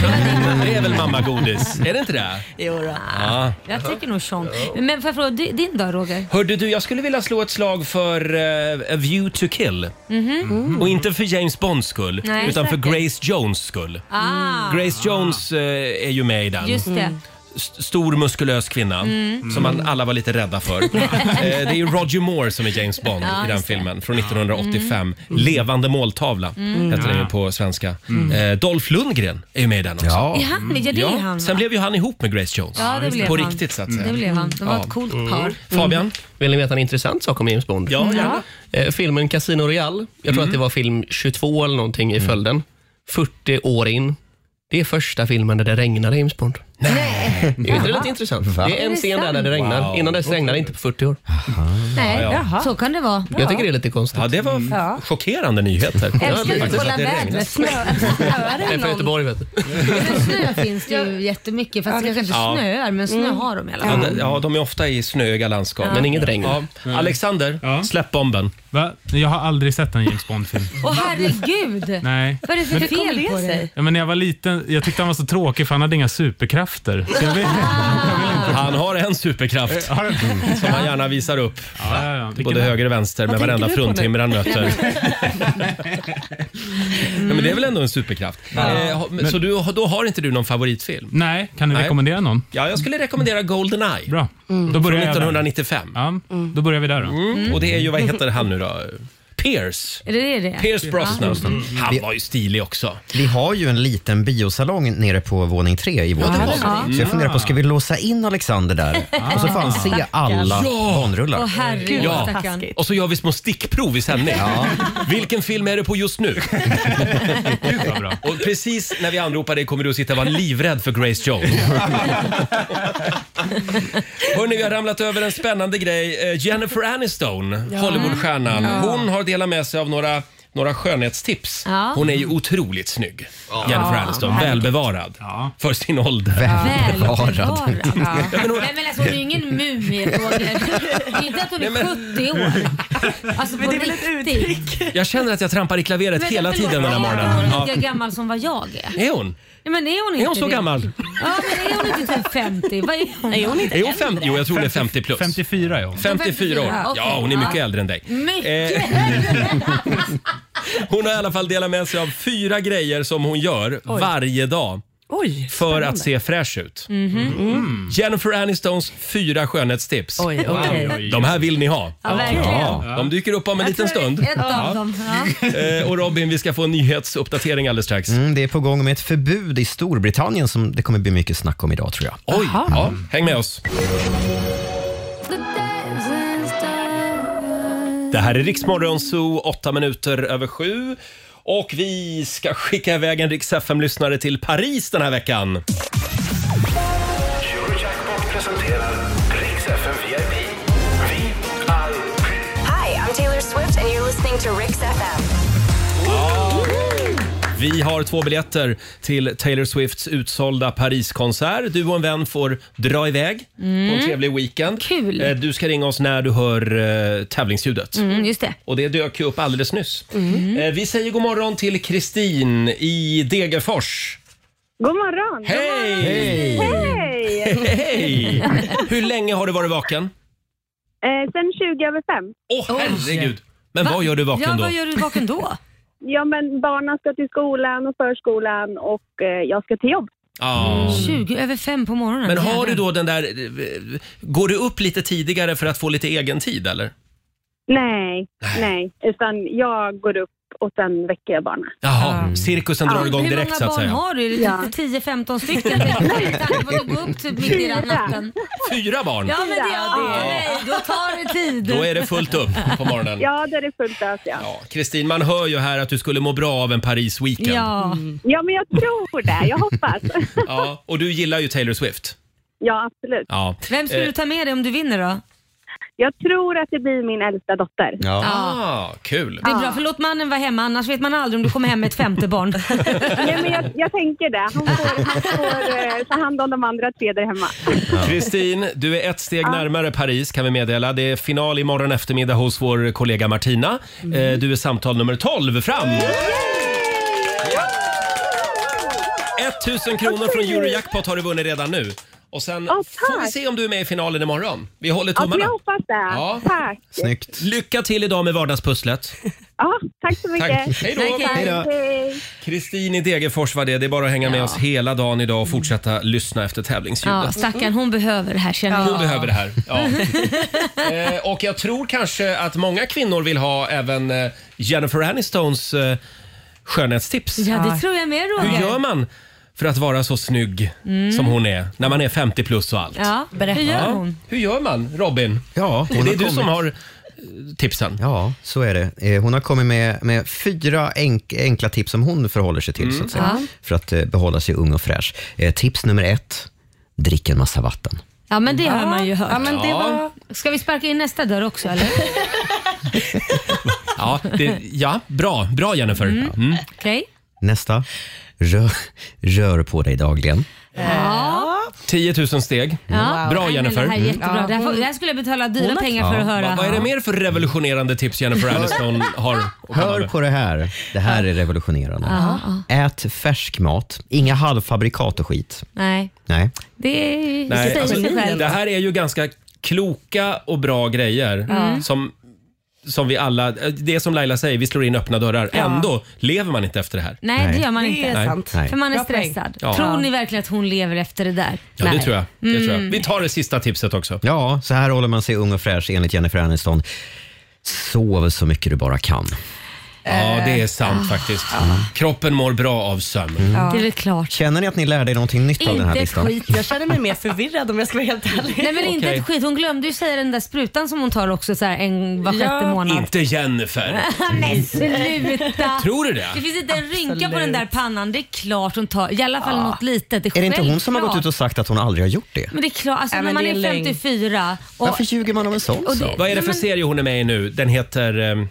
A: Det är väl mammagodis? Är det inte det?
I: Jo, då.
A: Ja.
D: Jag tycker nog Sean. Men får jag fråga di- din då Roger?
A: Hörde du, jag skulle vilja slå ett slag för eh, A View to Kill.
D: Mhm.
A: Mm. Och inte för James Bonds skull,
D: Nej,
A: utan för
D: säkert.
A: Grace Jones skull.
D: Ah.
A: Grace Jones eh, är ju med i den.
D: Just det.
A: st- stor muskulös kvinna
B: Mm.
A: som man alla var lite rädda för. Eh, det är ju Roger Moore som är James Bond
B: Ja,
A: i den
B: just det.
A: filmen från 1985. Levande måltavla
D: Mm.
A: heter den ju
D: Ja.
A: på svenska. Eh, Dolph Lundgren är ju med i den också. Mm.
D: Ja. Är han med? Ja, det är han,
A: Sen blev ju han ihop med Grace Jones.
D: Ja, det blev
A: på
D: han. Mm.
A: riktigt så att säga.
D: Det blev han. Det var ett coolt par. Mm.
A: Fabian?
J: Vill ni veta en intressant sak om James Bond?
A: Ja, gärna. Mm.
J: Eh, Filmen Casino Royale, jag tror att det var film 22 eller någonting i följden. 40 år in. Det är första filmen där det regnar i James Bond. Nej. Är inte det lite intressant?
B: Va?
J: Det är
B: Är
J: en
B: det
J: scen där, där det
B: sant?
J: regnar.
B: Wow.
J: Innan dess regnar det inte på 40 år.
D: Nej,
J: Ja, ja.
D: så kan det vara.
J: Jag tycker det är lite konstigt.
A: Ja, det var
D: Ja.
A: chockerande nyheter.
D: Mm. Älskar du att kolla vädret? Snö- Snöar
J: Jag är
D: det
J: från
D: någon?
J: Göteborg vet du.
D: Men snö finns det ju jättemycket, fast det kanske inte
A: Ja.
D: snöar, men snö har de i alla
A: Ja,
D: fall.
A: de- ja, de är ofta i snöiga landskap.
D: Men inget
H: regn.
A: Ja. Alexander, släpp bomben.
H: Mm. Va? Jag har aldrig sett en James Bond-film.
D: Åh herregud!
H: Nej.
D: Vad är det för
H: Men-
D: fel på dig?
H: Ja, men när jag var liten, jag tyckte han var så tråkig för han hade inga superkrafter. Så jag vet,
D: Ah.
A: Han har en superkraft
H: Eh,
A: Mm. som han gärna visar upp.
H: Vilken
A: Både
H: är-
A: höger och vänster
H: Vad
A: med
H: tänker
A: varenda
H: du på nu?
A: fruntimmer han möter. Ja, men det är väl ändå en superkraft. Eh, ha- men, så du, då har inte du någon favoritfilm?
H: Nej, kan du rekommendera någon?
A: Ja, jag skulle rekommendera Goldeneye.
H: Bra. Då börjar
A: Från
H: jag där.
A: 1995.
H: Då börjar vi där då.
A: Mm. Och det är ju, vad heter han nu då? Pierce.
D: Är det det?
A: Pierce Brosnan.
D: Ja. Mm.
A: Han var ju stilig också.
C: Vi har ju en liten biosalong nere på våning tre i vår
A: det
C: hus.
A: har vi.
C: Så jag funderar på, ska vi låsa in Alexander där? Och så får han se
A: Stackarn.
C: alla
A: Ja.
C: Bondrullar.
D: Åh, herregud, vad taskigt.
A: Och så gör vi små stickprov i sändning. Vilken film är det på just nu? Och precis när vi anropar dig kommer du att sitta och vara livrädd för Grace Jones. Hörni, vi har ramlat över en spännande grej. Eh, Jennifer Aniston,
B: Ja.
A: Hollywoodstjärnan.
B: Ja.
A: Hon har delat med sig av några några skönhetstips.
B: Ja.
A: Hon är ju otroligt snygg,
B: Ja.
A: Jennifer
B: Ja,
A: Aniston.
B: verkligen.
A: Välbevarad för sin ålder.
D: Välbevarad. Ja.
A: Ja, men hon-
D: Nej men alltså hon är ju ingen mumie Roger. Det är inte att hon är 70 år. Alltså på riktigt.
A: Jag känner att jag trampar i klaveret
D: Men
A: hela
D: förlåt,
A: tiden den här morgonen.
D: Är hon lika
A: Ja.
D: gammal som vad jag är?
A: Är hon?
D: Nej, men är hon inte
A: Är hon så
D: det?
A: gammal?
D: Ja men är hon inte typ 50? Vad är hon? Är hon
A: Är hon 50? Jo, jag tror det är 50 plus.
H: 54 är hon.
A: 54 år.
D: okej.
A: Ja, hon är mycket
D: Ja.
A: äldre än dig. Eh,
D: Mycket!
A: Hon har i alla fall delat med sig av fyra grejer som hon gör
B: Oj.
A: varje dag
I: Oj,
A: för
B: spännande.
A: att se fräsch ut.
B: Mhm. Mm.
A: Jennifer Anistons fyra skönhetstips.
B: Oj, okej. Wow.
A: De här vill ni ha.
B: Ja, verkligen.
A: de dyker upp om en liten stund.
D: Ett av
A: Ja.
D: dem. Ja.
A: Eh, Och Robin, vi ska få en nyhetsuppdatering alldeles strax.
C: Mm, det är på gång med ett förbud i Storbritannien som det kommer bli mycket snack om idag tror jag.
A: Oj, ja, häng med oss. Det här är Riksmorgon Zoo, åtta minuter över sju. Och vi ska skicka iväg en Rix FM-lyssnare till Paris den här veckan.
B: presenterar Rix FM VIP.
K: Hi, I'm Taylor Swift and you're listening to Rix FM.
A: Vi har två biljetter till Taylor Swifts utsålda Pariskonsert. Du och en vän får dra iväg på en
D: Mm.
A: trevlig weekend.
D: Kul.
A: Eh, Du ska ringa oss när du hör eh, tävlingsljudet.
D: Mm, just det.
A: Och det dök ju upp alldeles nyss. Eh, Vi säger god morgon till Kristin i Degerfors.
G: God morgon!
A: Hej! Hej!
G: Hej!
A: Hej! Hur länge har du varit vaken?
G: Eh, sen 20 över fem.
A: Åh herregud! Men vad gör du vaken då?
D: du vaken då?
G: ja, men barnen ska till skolan och förskolan och eh, jag ska till jobb.
A: Ja.
D: 20 över 5 på morgonen.
A: Men har
D: Jävlar.
A: du då den där... eh, Går du upp lite tidigare för att få lite egen tid eller?
G: Nej, nej, utan jag går upp och sen väcker jag barnen.
A: Jaha, cirkusen drar
D: Ja,
A: igång direkt
D: Hur
A: så
D: många
A: att
D: barn
A: säga.
D: har du? Är
G: Ja.
D: det typ 10-15 stycken? Med tanke på att du går upp typ mitt i den natten.
A: Fyra barn?
D: Ja men det
A: Ja.
D: är nej, då tar det tid.
A: Då är det fullt upp på morgonen.
G: Ja, det är fullt ös ja.
A: Kristin, man hör ju här att du skulle må bra av en Paris-weekend.
G: Ja. ja, men jag tror det. Jag hoppas.
A: Ja, och du gillar ju Taylor Swift.
G: ja, absolut.
A: Ja.
D: Vem skulle
A: Eh,
D: du ta med dig om du vinner då?
G: Jag tror att det blir min äldsta dotter.
A: Ja,
D: Ja.
A: Eh, Ah, kul.
D: Det är bra, för låt mannen vara hemma annars vet man aldrig om du kommer hem med ett femte barn.
G: Nej, men jag, jag tänker det. Han får, han får eh, ta hand om de andra tre där hemma.
A: Kristin, du är ett steg närmare Paris kan vi meddela. Det är final imorgon eftermiddag hos vår kollega Martina.
G: Mm.
A: Eh, Du är samtal nummer 12 fram. 1000 kronor från Eurojackpot har du vunnit redan nu. Och sen
G: Ja,
A: får vi
G: tack.
A: se om du är med i finalen imorgon. Vi håller
G: Ja, men
A: tummarna.
G: jag hoppas det.
A: Ja.
G: Tack.
A: Snyggt. Lycka till idag med vardagspusslet.
G: Ja, tack så mycket.
A: Tack. Hej då. Tack, hej. Hej då.
G: Hej.
A: Kristin i Degerfors var det. Det är bara att hänga med oss hela dagen idag och fortsätta lyssna efter tävlingsljudet.
D: Ja, stackarn, hon behöver det här känner
A: Hon
D: jag.
A: behöver det här. Ja. eh, och jag tror kanske att många kvinnor vill ha även eh, Jennifer Anistons eh, skönhetstips.
D: Ja, det tror jag med Roger.
A: Hur gör man för att vara så snygg
D: Mm.
A: som hon är när man är 50 plus och allt?
D: Ja, Hur gör
A: Ja.
D: hon?
A: Hur gör man, Robin?
C: Ja,
A: det är du som har eh, tipsen.
C: Ja, så är det. Eh, Hon har kommit med, med fyra enk, enkla tips som hon förhåller sig till
B: Mm.
C: så att säga,
D: Ja.
C: för att eh, behålla sig ung och fräsch. Eh, Tips nummer ett, drick en massa vatten.
D: Ja, men det har man ju hört.
C: Ja, men det Ja.
D: Ska vi sparka in nästa dörr också eller?
A: Ja, det, ja bra. Bra Jennifer. Mm.
D: Okej.
C: Nästa, rör, rör på dig dagligen.
D: Ja.
A: 10 000 steg.
D: ja.
A: Bra
D: Nej, men
A: Jennifer.
D: Det här är jättebra.
L: Ja.
D: Det, här får, det här skulle jag betala dyra
L: Hon har-
D: pengar för att höra.
A: Vad, vad är det mer för revolutionerande tips Jennifer Aniston har?
C: Hör på det här. Det här är revolutionerande.
D: Ja, ja.
C: Ät färsk mat, inga halvfabrikat och skit.
D: Nej,
C: Nej.
D: det, är- det
A: Nej,
D: säger
A: alltså,
D: sig själv.
A: det här är ju ganska kloka och bra grejer
D: Mm.
A: som, som vi alla... Det är som Laila säger, vi slår in öppna dörrar.
D: Ja.
A: Ändå lever man inte efter det här.
D: Nej, det gör man inte.
A: Nej. Nej.
D: För man är
A: Bra poäng.
D: stressad.
A: Ja.
D: Tror ni verkligen att hon lever efter det där?
C: Ja,
D: Nej.
C: det tror jag.
A: Det tror jag.
D: Mm.
A: Vi tar det sista tipset också.
C: Ja, så här håller man sig ung och fräsch enligt Jennifer Aniston. Sov så mycket du bara kan.
A: Ja, det är sant faktiskt. Kroppen mår bra av sömn.
D: Det är väl klart.
C: Känner ni att ni lärde er någonting nytt av den här listan?
I: Jag känner mig mer förvirrad om jag ska vara helt ärlig.
D: Nej men inte
C: Okej.
D: ett skit. Hon glömde ju säga den där sprutan som hon tar också så här en var sjätte månad.
A: Inte Jennifer.
D: men sluta!
A: Tror du det?
D: Det finns inte en rynka på den där pannan. Det är klart hon tar, i alla fall
C: Ja.
D: något litet.
C: Är det inte hon som har gått
D: självklart.
C: ut och sagt att hon aldrig har gjort det?
D: Men det är klart, alltså
I: Nej,
D: när
I: men
D: man
I: det är
D: är
I: lögn.
D: 54 och...
C: Varför ljuger man om en sån
D: och det-
C: sak?
A: Vad är det för serie hon är med i nu? Den heter... ehm,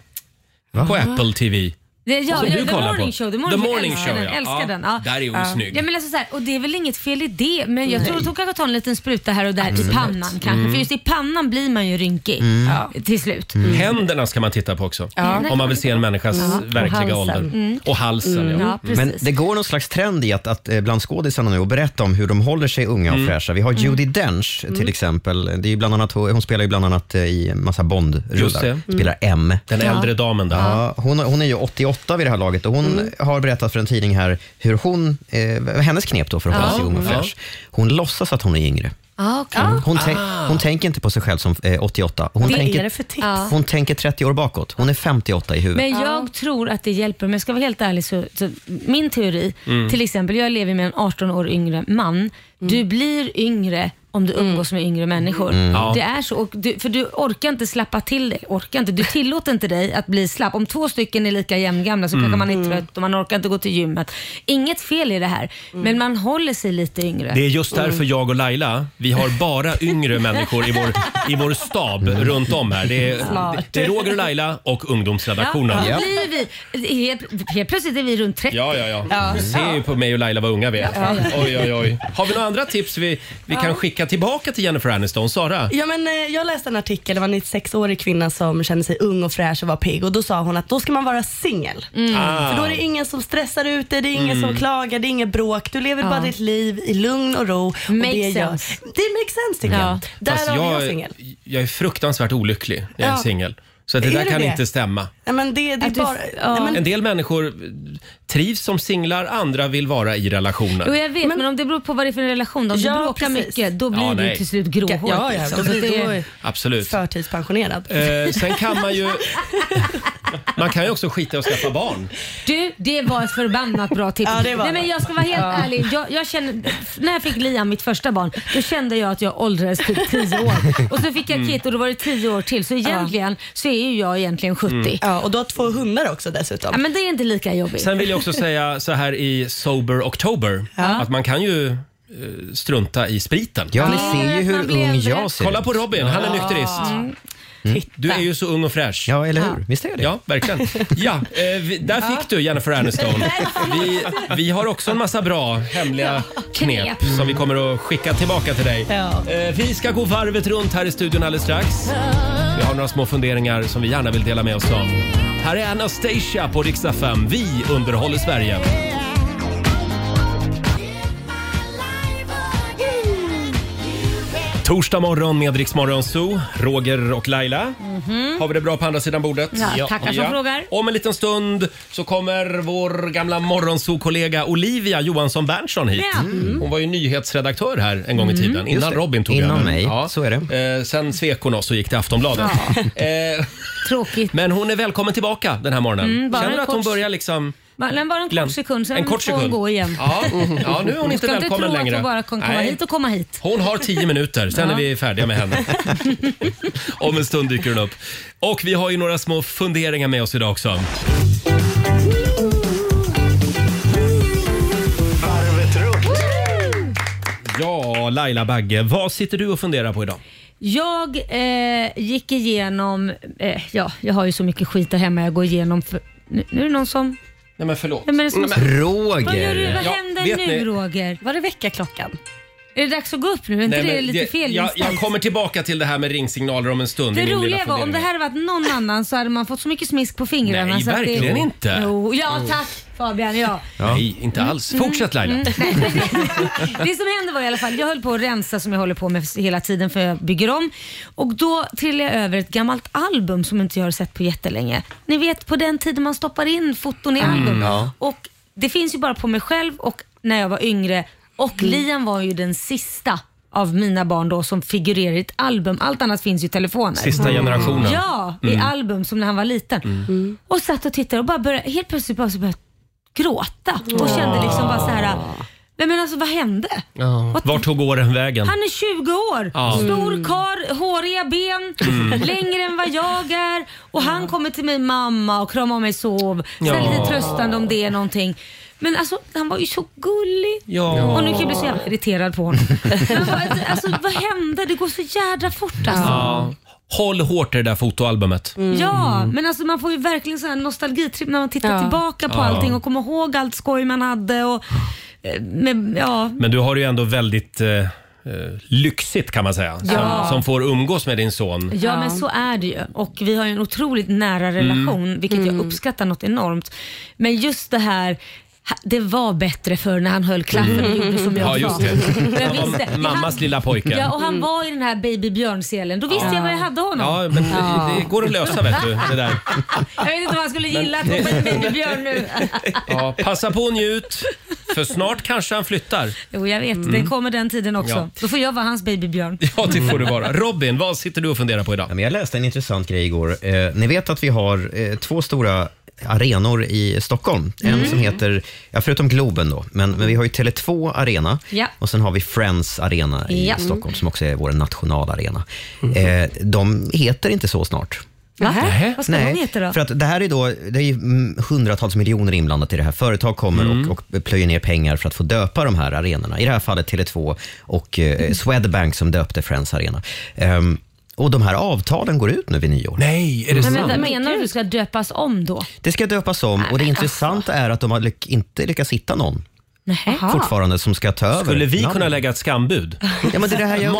A: på Apple TV.
D: Det, ja,
A: Som
D: ja,
A: Alltså, du
D: The
A: kollar
D: Morning
A: på.
D: Show. The
A: The
D: Morning,
A: Morning
D: älskar
A: Show,
D: den,
A: ja.
D: Älskar
A: Ja,
D: den. Ja.
A: där är hon
D: ja.
A: snygg.
D: Ja, men alltså så här, och det är väl inget fel i det, men jag
A: Nej.
D: tror att hon kanske tar en liten spruta här och där i
A: Absolut.
D: pannan kanske.
A: Mm.
D: För just i pannan blir man ju rynkig
A: Mm.
D: ja, till slut.
A: Händerna ska man titta på också.
D: Mm. Ja.
A: Om man vill se en människas
D: Ja. Och
A: verkliga
D: halsen.
A: ålder.
D: Mm.
A: Och halsen.
D: Mm. Ja,
A: Ja.
D: precis.
C: Men det går någon slags trend i att, att eh, bland skådisarna nu att berätta om hur de håller sig unga och fräscha. Vi har
A: Mm.
C: Judi Dench
A: Mm.
C: till exempel. Det är ju bland annat, hon spelar ju bland annat eh, i en massa
A: Just
C: Bond-rullar.
A: det. Mm.
C: Spelar M.
A: Den Ja. äldre damen där.
C: Ja, hon, hon är ju 88 vid det här laget och hon
D: Mm.
C: har berättat för en tidning här hur hon, eh, hennes knep då för att hålla
D: Ja.
C: sig ung och
D: Mm.
C: fräsch. Hon låtsas att hon är yngre. Mm.
D: Ah, okay.
C: Hon, tän- hon tänker inte på sig själv som eh, 88. Hon
D: Vad
C: tänker,
D: är det för tips? Ja.
C: hon tänker 30 år bakåt. Hon är 58 i huvudet.
D: Men jag tror att det hjälper. Men jag ska vara helt ärlig, så, så min teori,
C: Mm.
D: till exempel, jag lever med en 18 år yngre man. Du blir yngre om du umgås med yngre människor.
L: Mm. Ja.
D: Det är så. Och du, för du orkar inte slappa till dig. Orkar inte. Du tillåter inte dig att bli slapp. Om två stycken är lika jämngamla så
L: Mm.
D: kanske man är trött och man orkar inte gå till gymmet. Inget fel i det här, men man håller sig lite yngre.
A: Det är just
D: Mm.
A: därför jag och Laila, vi har bara yngre människor i vår, i vår stab runt om här. Det är,
D: Smart.
A: det är Roger och Laila och ungdomsredaktionen.
D: Ja, då blir vi, helt, helt plötsligt är vi runt 30.
A: Ja, ja, ja. Du ser ju på mig och Laila vad unga vi är.
I: Ja.
A: Oj, oj, oj. Har vi några andra tips vi, vi kan
I: Ja.
A: skicka tillbaka till Jennifer Aniston? Sara?
I: Ja, men, eh, jag läste en artikel, det var en 96-årig kvinna som kände sig ung och fräsch och var pigg och då sa hon att då ska man vara singel.
L: Mm. Ah.
I: För då är det ingen som stressar ut dig, det är ingen
L: Mm.
I: som klagar, det är inget bråk. Du lever
L: Ja.
I: bara ditt liv i lugn och ro. Och
L: Makes
I: det gör-
L: sense.
I: Det makes sense tycker
A: Ja.
I: jag. Därav
A: Fast
I: jag... är jag singel.
A: jag är fruktansvärt olycklig när jag är
I: Ja.
A: singel. Så att det
I: Är
A: där
I: du
A: kan
I: det?
A: inte stämma.
I: Nej, men det, det är bara... Nej, men...
A: En del människor trivs som singlar, andra vill vara i relationer.
D: Jo, jag vet, men, om det beror på vad det är för en relation. Om
I: Ja,
D: du bråkar
I: precis.
D: mycket, då blir
A: Ja,
D: du
A: nej.
D: till slut gråhårig.
I: Ja, ja,
D: liksom.
I: då
D: Så
I: blir
D: det är-
I: du
A: Absolut.
I: förtidspensionerad.
A: Eh, sen kan man ju... Man kan ju också skita i att skaffa barn.
D: Du, det var ett förbannat bra tips.
L: Ja, det var
D: Nej, men
L: det.
D: jag ska vara helt
L: Ja.
D: ärlig. Jag, jag känner, när jag fick Liam, mitt första barn, då kände jag att jag åldrades typ 10 år. Och så fick jag
I: Mm.
D: Kit och då var det 10 år till. Så egentligen så är ju jag egentligen 70.
I: Ja, och du har två hundar också dessutom.
D: Ja, men det är inte lika jobbigt.
A: Mm. Sen vill jag också säga så här i Sober October
D: Ja.
A: att man kan ju eh, strunta i spriten.
C: Ja, ni ser ju hur ung jag ser
A: Kolla
C: ut.
A: på Robin, han är
C: Ja.
A: nykterist.
D: Mm.
A: Du är ju så ung och fräsch.
C: Ja, eller hur? Visst är det?
A: Ja, verkligen. Ja, eh, vi, där fick du Jennifer Aniston. Vi, vi har också en massa bra hemliga knep
L: Knep.
A: som vi kommer att skicka tillbaka till dig.
L: Ja.
A: Eh, Vi ska gå varvet runt här i studion alldeles strax. Vi har några små funderingar som vi gärna vill dela med oss av. Här är Anastasia på riksdag 5. Vi underhåller Sverige. Torsdag morgon med Rix Morgon Zoo, Roger och Laila. Har vi det bra på andra sidan bordet?
D: Mm. Mhm. Ja, tackar som frågar.
A: Om en liten stund så kommer vår gamla morgonsokollega Olivia Johansson Berntsson hit.
D: Ja. Mm.
A: Hon var ju nyhetsredaktör här en gång i
C: Mm.
A: tiden,
C: Just
A: innan
C: det.
A: Robin tog
C: Innan
A: över.
C: mig,
A: så är det. Eh, sen svek hon oss och gick till Aftonbladet. Eh,
D: Tråkigt.
A: Men hon är välkommen tillbaka den här morgonen.
D: Mm, bara
A: Känner du
D: en
A: att hon
D: kort-
A: börjar liksom...
D: Bara bara en
A: Glöm.
D: kort sekund, sen
A: En kort
D: får hon
A: sekund.
D: gå igen.
A: Ja, mhm. Ja, nu är hon inte
D: Ska
A: välkommen
D: tro
A: längre.
D: Att hon bara kan komma
A: Nej.
D: hit och komma hit.
A: Hon har tio minuter, sen
D: Ja.
A: är vi färdiga med henne. Om en stund dyker hon upp. Och vi har ju några små funderingar med oss idag också.
B: Varvet runt.
A: Ja, Laila Bagge, vad sitter du och funderar på idag?
D: Jag eh, gick igenom, eh, ja, jag har ju så mycket skit där hemma jag går igenom. För, nu, nu är det någon som...
A: Nej men förlåt.
D: Vem är det som
A: Nej, men- Roger.
D: Vad, gör du, vad
A: Eh, Ja,
D: händer
A: vet
D: nu
A: ni-
D: Roger? Var det väckarklockan? Är det dags att gå upp nu? Är inte
A: Nej,
D: det
A: men
D: lite
A: det-
D: fel
A: jag, jag
D: instans?
A: kommer tillbaka till det här med ringsignaler om en stund.
D: Det
A: i min lilla
D: roliga var om det
A: fundering.
D: här hade varit någon annan så hade man fått så mycket smisk på fingrarna.
A: Nej,
D: så att
A: verkligen
D: det...
A: inte.
D: Jo, ja
A: Oh.
D: tack Fabian, ja.
A: Nej, inte alls. Fortsätt Laila.
D: Mm. Det som hände var i alla fall, jag höll på att rensa som jag håller på med hela tiden för jag bygger om. Och då trillade jag över ett gammalt album som inte jag har sett på jättelänge. Ni vet på den tiden man stoppar in foton i
L: Mm,
D: album.
L: ja.
D: Och det finns ju bara på mig själv och när jag var yngre. Och
A: Mm.
D: Liam var ju den sista av mina barn då som figurerar i ett album. Allt annat finns ju i telefoner. Mm.
A: Sista generationen.
D: Ja, i
A: Mm.
D: album som när han var liten. Och satt och tittade och bara började, helt plötsligt bara så började jag gråta. Och kände liksom bara så här. Nej men alltså vad hände? What-
A: Vart tog åren vägen?
D: Han är 20 år,
A: Ja.
D: stor kar, håriga ben,
A: Mm.
D: längre än vad jag är och han kommer till mig mamma och kramar om mig sov. Så
A: Ja.
D: lite tröstande om det är någonting. Men alltså han var ju så gullig.
A: Ja.
D: Och nu kan jag bli så jävla irriterad på honom. Men vad- alltså vad hände? Det går så jädra fort alltså.
A: Ja. Håll hårt i det där fotoalbumet.
D: Ja, men alltså man får ju verkligen sån här nostalgitripp när man tittar tillbaka på
A: Ja.
D: allting och kommer ihåg allt skoj man hade. Och, eh, med, ja.
A: Men du har det ju ändå väldigt eh, eh, lyxigt kan man säga.
D: Ja.
A: Som, som får umgås med din son.
D: Ja, men så är det ju. Och vi har ju en otroligt
A: Mm.
D: nära relation, vilket jag uppskattar något enormt. Men just det här, ha- det var bättre förr när han höll klaffen och gjorde som jag
A: Mm. Ja, just
D: sa.
A: det.
D: Jag visste.
A: Om Mammas lilla pojke.
D: Ja, och han var i den här babybjörnselen. Då visste jag vad jag hade honom.
A: Ja, men det- det går att lösa vet du. Det där.
D: Jag vet inte om han skulle gilla att hoppa en babybjörn nu.
A: Ja, passa på och njut. För snart kanske han flyttar.
D: Jo, jag vet.
A: Mm.
D: Det kommer den tiden också.
A: Ja.
D: Då får jag vara hans babybjörn.
A: Ja, det får du vara. Robin, vad sitter du och funderar på idag?
C: Ja, men jag läste en intressant grej igår. Eh, ni vet att vi har eh, två stora arenor i Stockholm. En
L: Mm.
C: som heter, ja, förutom Globen då, men, men vi har ju Tele2 Arena
L: Ja.
C: och sen har vi Friends Arena i
D: Mm.
L: Ja.
C: Stockholm som också är vår nationalarena. Eh, de heter inte så snart.
D: Va? Vad ska
C: Nej,
D: de heta då?
C: För att det här är då, det är ju mm, hundratals miljoner inblandat i det här. Företag kommer
A: Mm.
C: och, och plöjer ner pengar för att få döpa de här arenorna. I det här fallet Tele2 och
A: Mm.
C: eh, Swedbank som döpte Friends Arena. Ehm, och de här avtalen går ut nu vid nyår. Mm.
A: Nej,
D: Men, vänta, menar du att du ska döpas om då?
C: Det ska döpas om och det
A: alltså.
C: intressanta är att de har lyck- inte lyckats hitta någon
D: Nej.
C: fortfarande som ska ta över.
A: Ah. Skulle vi
C: namnet.
A: kunna lägga ett skambud?
C: Ja, men det är det här jag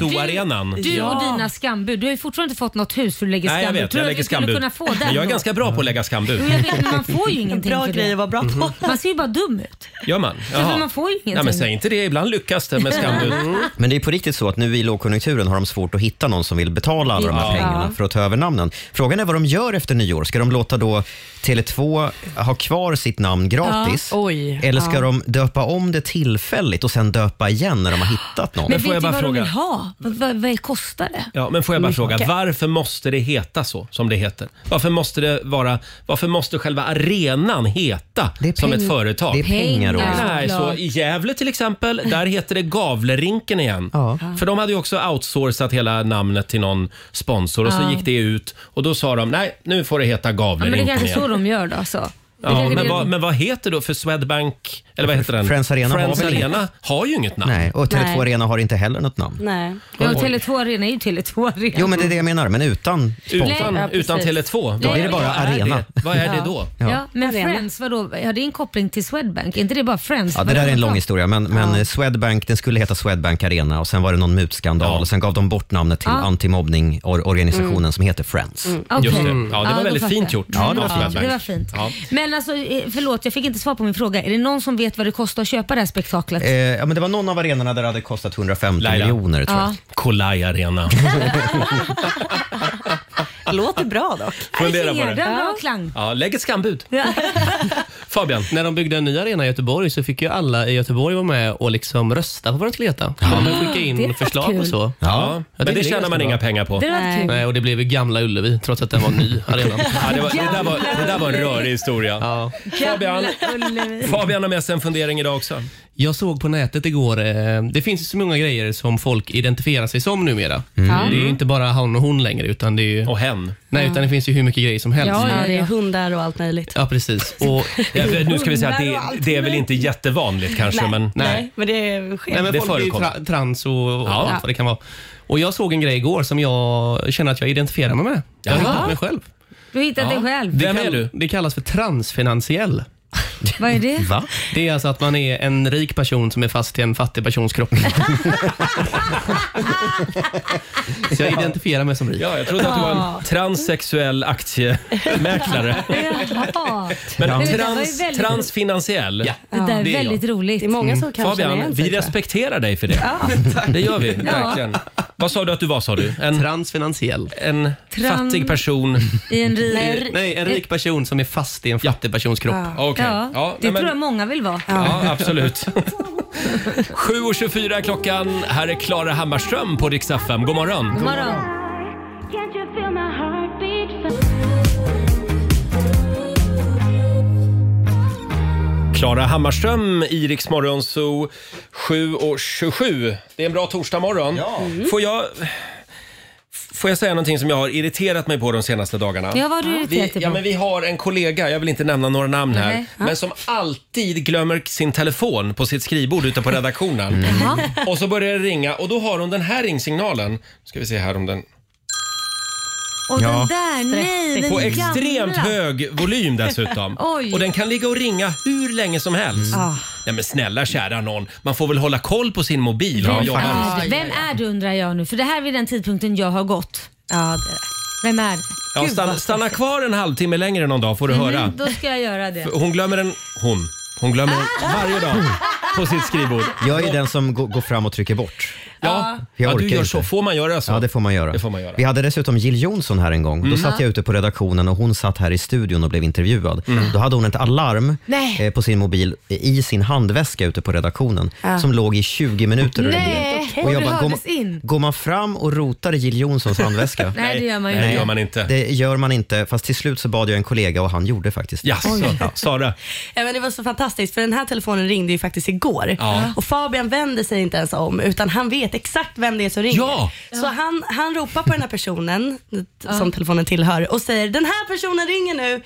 A: Morgonzoo-arenan.
D: Du och dina skambud. Du har ju fortfarande inte fått något hus för du lägger
A: Nej, jag
D: skambud.
A: vet.
D: Tror
A: Jag
D: du
A: lägger
D: att vi
A: skambud.
D: skulle kunna få den
A: Men jag är
D: då?
A: ganska bra på att lägga skambud.
D: Jo, jag vet, men man får ju ingenting
I: Bra
D: för
I: grej att vara bra på.
D: Man ser ju bara dum ut.
A: Gör man?
D: Ja, för man får ju ingenting.
A: Nej, men säg inte det. Ibland lyckas det med skambud. Mm.
C: Men det är på riktigt så att nu i lågkonjunkturen har de svårt att hitta någon som vill betala alla de här
A: Ja.
C: pengarna för att ta över namnen. Frågan är vad de gör efter nyår. Ska de låta då Tele2 ha kvar sitt namn gratis?
L: Ja. Oj.
C: Eller ska
L: Ja.
C: de döpa om det tillfälligt och sen döpa igen när de har hittat någon?
D: Men vet ni vad de vill ha? Vad, vad, vad kostar det? Mm.
A: Ja, men får jag bara
C: Mm.
D: Mycket.
A: fråga, varför måste det heta så som det heter? Varför måste, det vara, varför måste själva arenan heta som
C: peng-
A: ett företag?
C: det är pengar, Roger.
A: Nej, så
C: Såklart.
A: I Gävle till exempel, där heter det Gavlerinken igen. För de hade ju också outsourcat hela namnet till någon sponsor och så
D: Ja.
A: gick det ut och då sa de nej, nu får det heta
D: Ja, men det är
A: Gavlerinken
D: kanske
A: igen.
D: så de gör då. alltså. Så. Det
A: Ja,
D: kanske
A: men,
D: det-
A: vad, men vad heter då för Swedbank, eller vad heter den?
C: Friends Arena har
A: Friends
C: väl inget.
A: Arena har ju inget namn.
C: Nej, och Tele2
D: Nej.
C: Arena har inte heller något namn.
D: Nej. Ja,
C: Oj.
D: Tele2 Arena är ju Tele2 Arena.
C: Jo, men det är det jag menar, men utan sponsor.
D: Nej, ja, precis.
A: Utan Tele2.
C: Då blir det bara
A: Vad är
C: arena.
A: det? Vad är det
C: Ja.
A: då?
D: Ja.
C: Ja.
D: men Friends, vadå? Ja, det är en koppling till Swedbank. Är inte det bara Friends?
C: Ja, det
D: Vad
C: där är en
D: det?
C: lång historia, men, men eh, Swedbank, den skulle heta Swedbank Arena och sen var det någon mutskandal och sen gav de bort namnet till
D: Ja.
C: antimobbningorganisationen
D: Mm.
C: som heter Friends.
D: Mm, okej. Just det. Ja, det var Ja, då väldigt fattar fint jag. gjort
C: Ja, det var
D: Ja,
C: fint.
D: det var fint. Men Men alltså, eh, förlåt, jag fick inte svar på min fråga. Är det någon som vet vad det kostar att köpa det här spektaklet?
C: Eh, ja, men det var någon av arenorna där det hade kostat 150 miljoner. Tror
D: Ja.
C: jag.
A: Kolaj Arena.
I: Låter bra dock.
A: Fundera på det.
D: bra klang.
A: Ja, lägg ett skambud. Fabian?
J: När de byggde en ny arena i Göteborg så fick ju alla i Göteborg vara med och liksom rösta på vad de skulle heta. Ja. De skicka
A: Det är
J: in
A: fett
J: förslag
A: kul.
J: och så.
A: Ja.
J: Jag
A: Men
J: tycker
A: det tjänar
J: ganska
A: man
J: bra.
A: inga pengar på. Det hade varit kul.
J: Nej, och det blev ju Gamla Ullevi trots att den var ny arena.
A: Ja, det, var, det, där var, det där var en rörig historia. Fabian, Fabian har med sig en fundering idag också.
J: Jag såg på nätet igår, eh, det finns ju så många grejer som folk identifierar sig som numera.
A: Mm. Ja.
J: Det är ju inte bara han och hon längre. Utan det är ju,
A: och hen.
J: Nej, utan det finns ju hur mycket grejer som helst.
I: Ja, ja, det är hundar och allt möjligt.
J: Ja, precis. Och,
I: Ja, för
A: eh, Nu ska vi säga att det, det är väl inte jättevanligt kanske,
I: nej,
A: men...
I: nej, men det sker.
J: Nej, men
A: Det
J: folk är ju
A: förekommer.
J: tra- trans och, och
A: Ja.
J: allt vad det kan vara. Och jag såg en grej igår som jag känner att jag identifierar mig med. Jag har
D: Jaha.
J: hittat mig själv.
D: Du har hittat dig själv.
J: Det kall- Det kallas för transfinansiell.
D: Vad är det?
J: Va? Det är alltså att man är en rik person som är fast i en fattig persons kropp. Så jag identifierar mig som rik.
A: Ja, jag trodde att du var
D: Ja.
A: en transsexuell aktiemäklare.
D: Jaha. Men
A: Men
D: det där var ju
A: trans,
D: väldigt-
A: transfinansiell.
D: Det där är väldigt roligt. Det är
I: många
J: Mm.
I: som
A: Mm. Fabian, vi respekterar dig för det. Det gör vi,
D: Ja.
A: verkligen. Vad sa du att du var sa du? En
J: transfinansiell.
A: En
D: Tran-
A: fattig person.
D: I en rik...
J: Nej, en rik person som är fast i en fattig persons kropp.
A: Okej.
D: Ja.
A: Ja,
D: det
A: nej, men-
D: tror jag många vill vara.
A: Ja, absolut. 7.24 är klockan. Här är Klara Hammarström på Rix FM. God morgon.
D: God morgon.
A: Klara Hammarström i Rix Morgon Zoo 7.27. Det är en bra torsdagmorgon. Får jag... Får jag säga någonting som jag har irriterat mig på de senaste dagarna?
D: Ja, vad har du irriterat dig
A: vi,
D: på?
A: ja, men Vi har en kollega, jag vill inte nämna några namn här,
D: Nej. Ja.
A: men som alltid glömmer sin telefon på sitt skrivbord ute på
D: Mm.
A: redaktionen.
D: Jaha.
A: Och så börjar det ringa och då har hon den här ringsignalen. Ska vi se här om den...
D: Och
A: Ja.
D: den där, nej, den
A: På
D: gamla.
A: extremt hög volym dessutom.
D: Oj.
A: Och den kan ligga och ringa hur länge som helst.
D: Mm. Ah.
A: Nej men snälla kära någon, man får väl hålla koll på sin mobil.
D: Vem,
A: Ja, jag-
D: är, vem är du undrar jag nu? För det här är vid den tidpunkten jag har gått. Ja, Vem är det?
A: Ja,
D: Gud,
A: stanna,
D: vad-
A: stanna kvar en halvtimme längre någon dag får du höra.
D: Mm, Då Ah! ska jag göra det.
A: Hon glömmer en... Hon. Hon glömmer en varje dag på sitt skrivbord.
C: Jag är den som går, går fram och trycker bort.
D: Ah.
A: Ja,
C: Jag
A: ja du
C: orkar
A: gör
C: inte.
A: så. Får man göra så?
C: Ja, det får man göra.
A: Det får man göra.
C: Vi hade dessutom Jill Johnson här en gång. Då
A: Mm.
C: satt jag ute på redaktionen och hon satt här i studion och blev intervjuad.
A: Mm.
C: Då hade hon ett alarm
D: Nej.
C: eh, på sin mobil eh, i sin handväska ute på redaktionen
D: Ja.
C: som låg i 20 minuter och ringde.
D: Nej,
C: Och
D: och
C: jag
D: det
C: bara, går,
D: hördes in.
C: går man fram och rotar i Jill Johnsons handväska?
D: Nej, det gör man ju inte.
A: man inte.
C: Det gör man inte, fast till slut så bad jag en kollega och han gjorde faktiskt det.
A: Jaså, Oj. Sara?
I: Ja, men det var så fantastiskt för den här telefonen ringde ju faktiskt igår
C: Ja.
I: och Fabian vänder sig inte ens om utan han vet exakt vem det är som ringer.
A: Ja.
I: Så han, han ropar på den här personen t- som telefonen tillhör och säger den här personen ringer nu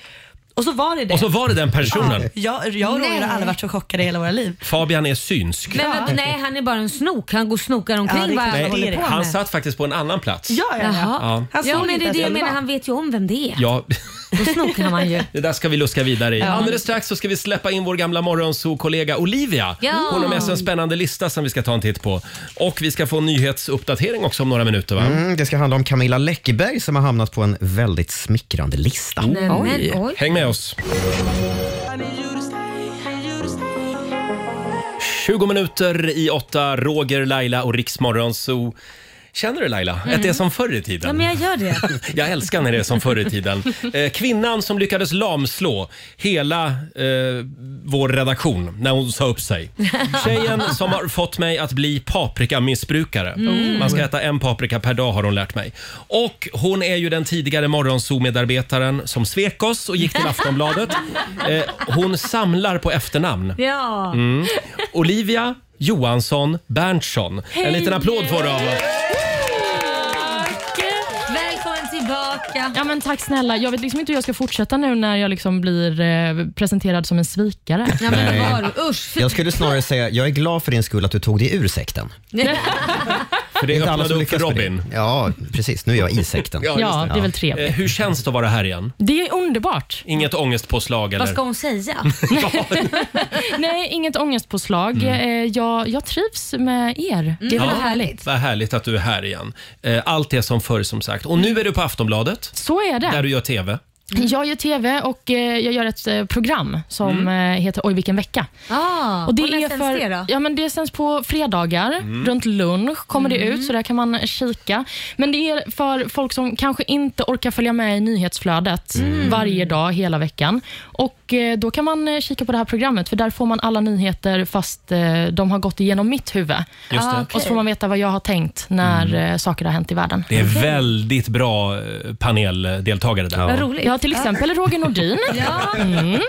I: och så var det det.
A: Och så var det den personen.
I: Ja, jag, jag och Roger har alla varit så chockade i hela våra liv.
A: Fabian är synsk.
D: Men vadå, nej, han är bara en snok. Han går och snokar omkring
I: Ja, det är
D: vad
I: klart.
D: han
A: Nej,
D: håller på med.
A: han satt faktiskt på en annan plats.
I: Ja, ja,
A: Ja.
D: Jaha.
A: Han
D: ja
A: såg
D: men
A: inte
D: det är
A: att
D: det jag
A: jag
D: menar. Han vet ju om vem det är.
A: Ja,
D: Då snokar man ju.
A: det där ska vi luska vidare i.
D: Ja.
A: Alldeles strax så ska vi släppa in vår gamla morgonzoo-kollega Olivia.
D: Ja.
A: Hon har med sig en spännande lista som vi ska ta en titt på. Och vi ska få en nyhetsuppdatering också om några minuter va?
C: Mm, det ska handla om Camilla Läckberg som har hamnat på en väldigt smickrande lista.
A: Nämen, Oj. oj. Häng med oss. 20 minuter i åtta, Roger, Laila och Riksmorgonzoo. Känner du Laila
D: Mm.
A: att det är som förr i tiden?
D: Ja, men jag gör det.
A: Jag älskar när det är som förr i tiden. Eh, kvinnan som lyckades lamslå hela eh, vår redaktion när hon sa upp sig. Tjejen som har fått mig att bli paprikamissbrukare.
B: Mm.
A: Man ska äta en paprika per dag har hon lärt mig. Och hon är ju den tidigare morgonzoo-medarbetaren som svek oss och gick till Aftonbladet. Eh, hon samlar på efternamn.
D: Ja.
A: Mm. Olivia Johansson Berntsson. En liten applåd får du av oss.
D: Välkommen tillbaka.
L: Ja, men tack snälla. Jag vet liksom inte hur jag ska fortsätta nu när jag liksom blir eh, presenterad som en svikare.
D: Ja, men
C: Nej.
D: vad var du? Usch.
C: Jag skulle snarare säga, jag är glad för din skull att du tog dig ur sekten.
A: För det
C: Inte alla
A: öppnade
C: som
A: upp för
C: lyckas med
A: Robin.
C: det. Ja, precis. Nu är jag i sekten.
A: just
L: Ja, det är väl trevligt.
A: Eh, Hur känns det att vara här igen?
L: Det är underbart.
A: Inget ångestpåslag eller?
L: Vad ska
D: hon säga?
L: Nej, inget ångestpåslag.
A: Mm.
L: Eh, jag, jag trivs med
D: Mm.
L: er. Det är väl härligt.
A: Vad härligt att du är här igen. Eh, Allt är som förr som sagt. Och nu är du på Aftonbladet.
L: Så är det.
A: Där du gör TV.
L: Jag gör TV och eh, jag gör ett eh, program som eh, heter Oj vilken vecka.
D: Ah,
L: och det
D: och när
L: är
D: sänds
L: för,
D: det då?
L: Ja, men det sänds på fredagar.
D: Mm.
L: Runt lunch kommer det
D: Mm.
L: ut, så där kan man kika. Men det är för folk som kanske inte orkar följa med i nyhetsflödet varje dag hela veckan. Och eh, Då kan man eh, kika på det här programmet, för där får man alla nyheter fast eh, de har gått igenom mitt huvud.
A: Just det. Ah,
L: Och
A: okej.
L: så får man veta vad jag har tänkt när eh, saker har hänt i världen.
A: Det är väldigt bra eh, paneldeltagare där.
L: Vad roligt. Ja, till exempel Roger Nordin. ja. Mm.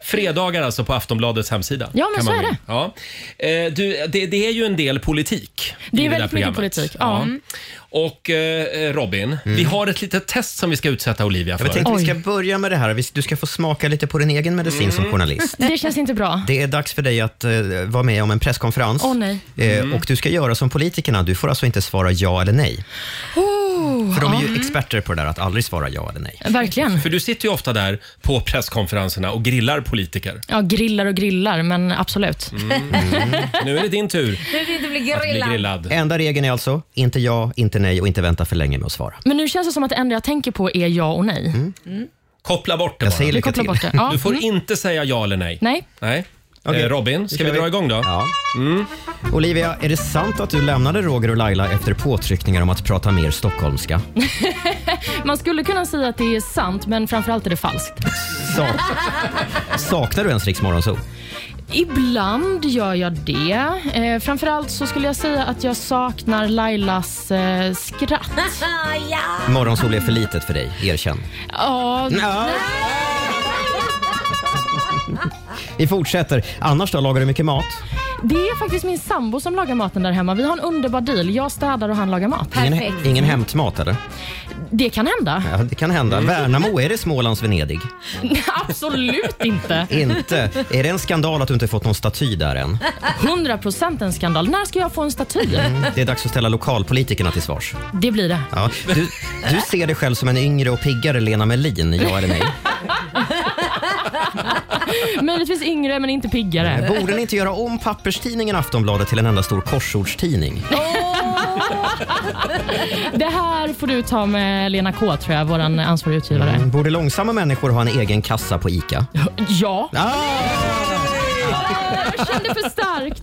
A: Fredagar alltså på Aftonbladets hemsida.
L: Ja, men
A: kan
L: så
A: man
L: är
A: gå in. Ja. Eh, du, det, det är ju en del politik
L: Det är
A: i det där
L: väldigt mycket
A: programmet.
L: politik, ja. Mm.
A: Och eh, Robin,
C: Mm.
A: vi har ett litet test som vi ska utsätta Olivia för.
C: Jag tänkte vi ska börja med det här. Vi- Du ska få smaka lite på din egen medicin som
A: Mm.
C: journalist.
L: Det känns inte bra.
C: Det är dags för dig att eh, vara med om en presskonferens.
L: Åh, nej.
C: Eh,
L: Mm.
C: Och du ska göra som politikerna. Du får alltså inte svara ja eller nej.
L: Oh,
C: För de är ju
L: ja.
C: experter på det där att aldrig svara ja eller nej.
L: Verkligen.
A: För du sitter ju ofta där på presskonferenserna och grillar politiker.
L: Ja, grillar och grillar, men absolut. Mm.
A: Nu är det din tur.
D: Nu vill du bli
C: Alltså, Enda regeln är alltså inte ja, inte nej och inte vänta för länge med att svara.
L: Men nu känns det som att det enda jag tänker på är ja och nej.
A: Koppla bort det bara.
C: säger lycka
L: Koppla till. bort det, ja.
A: Du får
L: Mm.
A: inte säga ja eller nej.
L: Nej.
A: Nej.
C: Okej.
A: Eh, Robin,
C: Nu
A: ska
C: kör
A: vi
C: vi.
A: dra igång då?
C: Ja. Mm. Olivia, är det sant att du lämnade Roger och Laila efter påtryckningar om att prata mer stockholmska?
L: Man skulle kunna säga att det är sant, men framförallt är det falskt.
C: Sak- Saknar du ens Rix Morgonzoo?
L: Ibland gör jag det. Eh, framförallt så skulle jag säga att jag saknar Lailas eh, skratt.
D: ja.
C: Morgonsol är för litet för dig, erkänn.
L: Ja,
C: Vi fortsätter. Annars då, lagar du mycket mat?
L: det är faktiskt min sambo som lagar maten där hemma. Vi har en underbar deal. Jag städar och han lagar mat.
C: Ingen, ingen hämtmat eller?
L: Det kan hända.
C: Ja, det kan hända.
A: Mm.
C: Värnamo, är det Smålands Venedig?
L: Absolut inte.
C: Inte. Är det en skandal att du inte fått någon staty där än?
L: 100% en skandal. När ska jag få en staty?
C: Mm. Det är dags att ställa lokalpolitikerna till svars.
L: Det blir det.
C: Ja. Du, du ser dig själv som en yngre och piggare Lena Melin, ja eller nej?
L: Möjligtvis yngre, men inte piggare.
C: Borde ni inte göra om papperstidningen Aftonbladet till en enda stor korsordstidning?
L: Det här får du ta med Lena K, tror jag, vår ansvarig utgivare.
C: Mm, Borde långsamma människor ha en egen kassa på ICA?
L: Ja.
C: Ah!
L: Jag kände för starkt.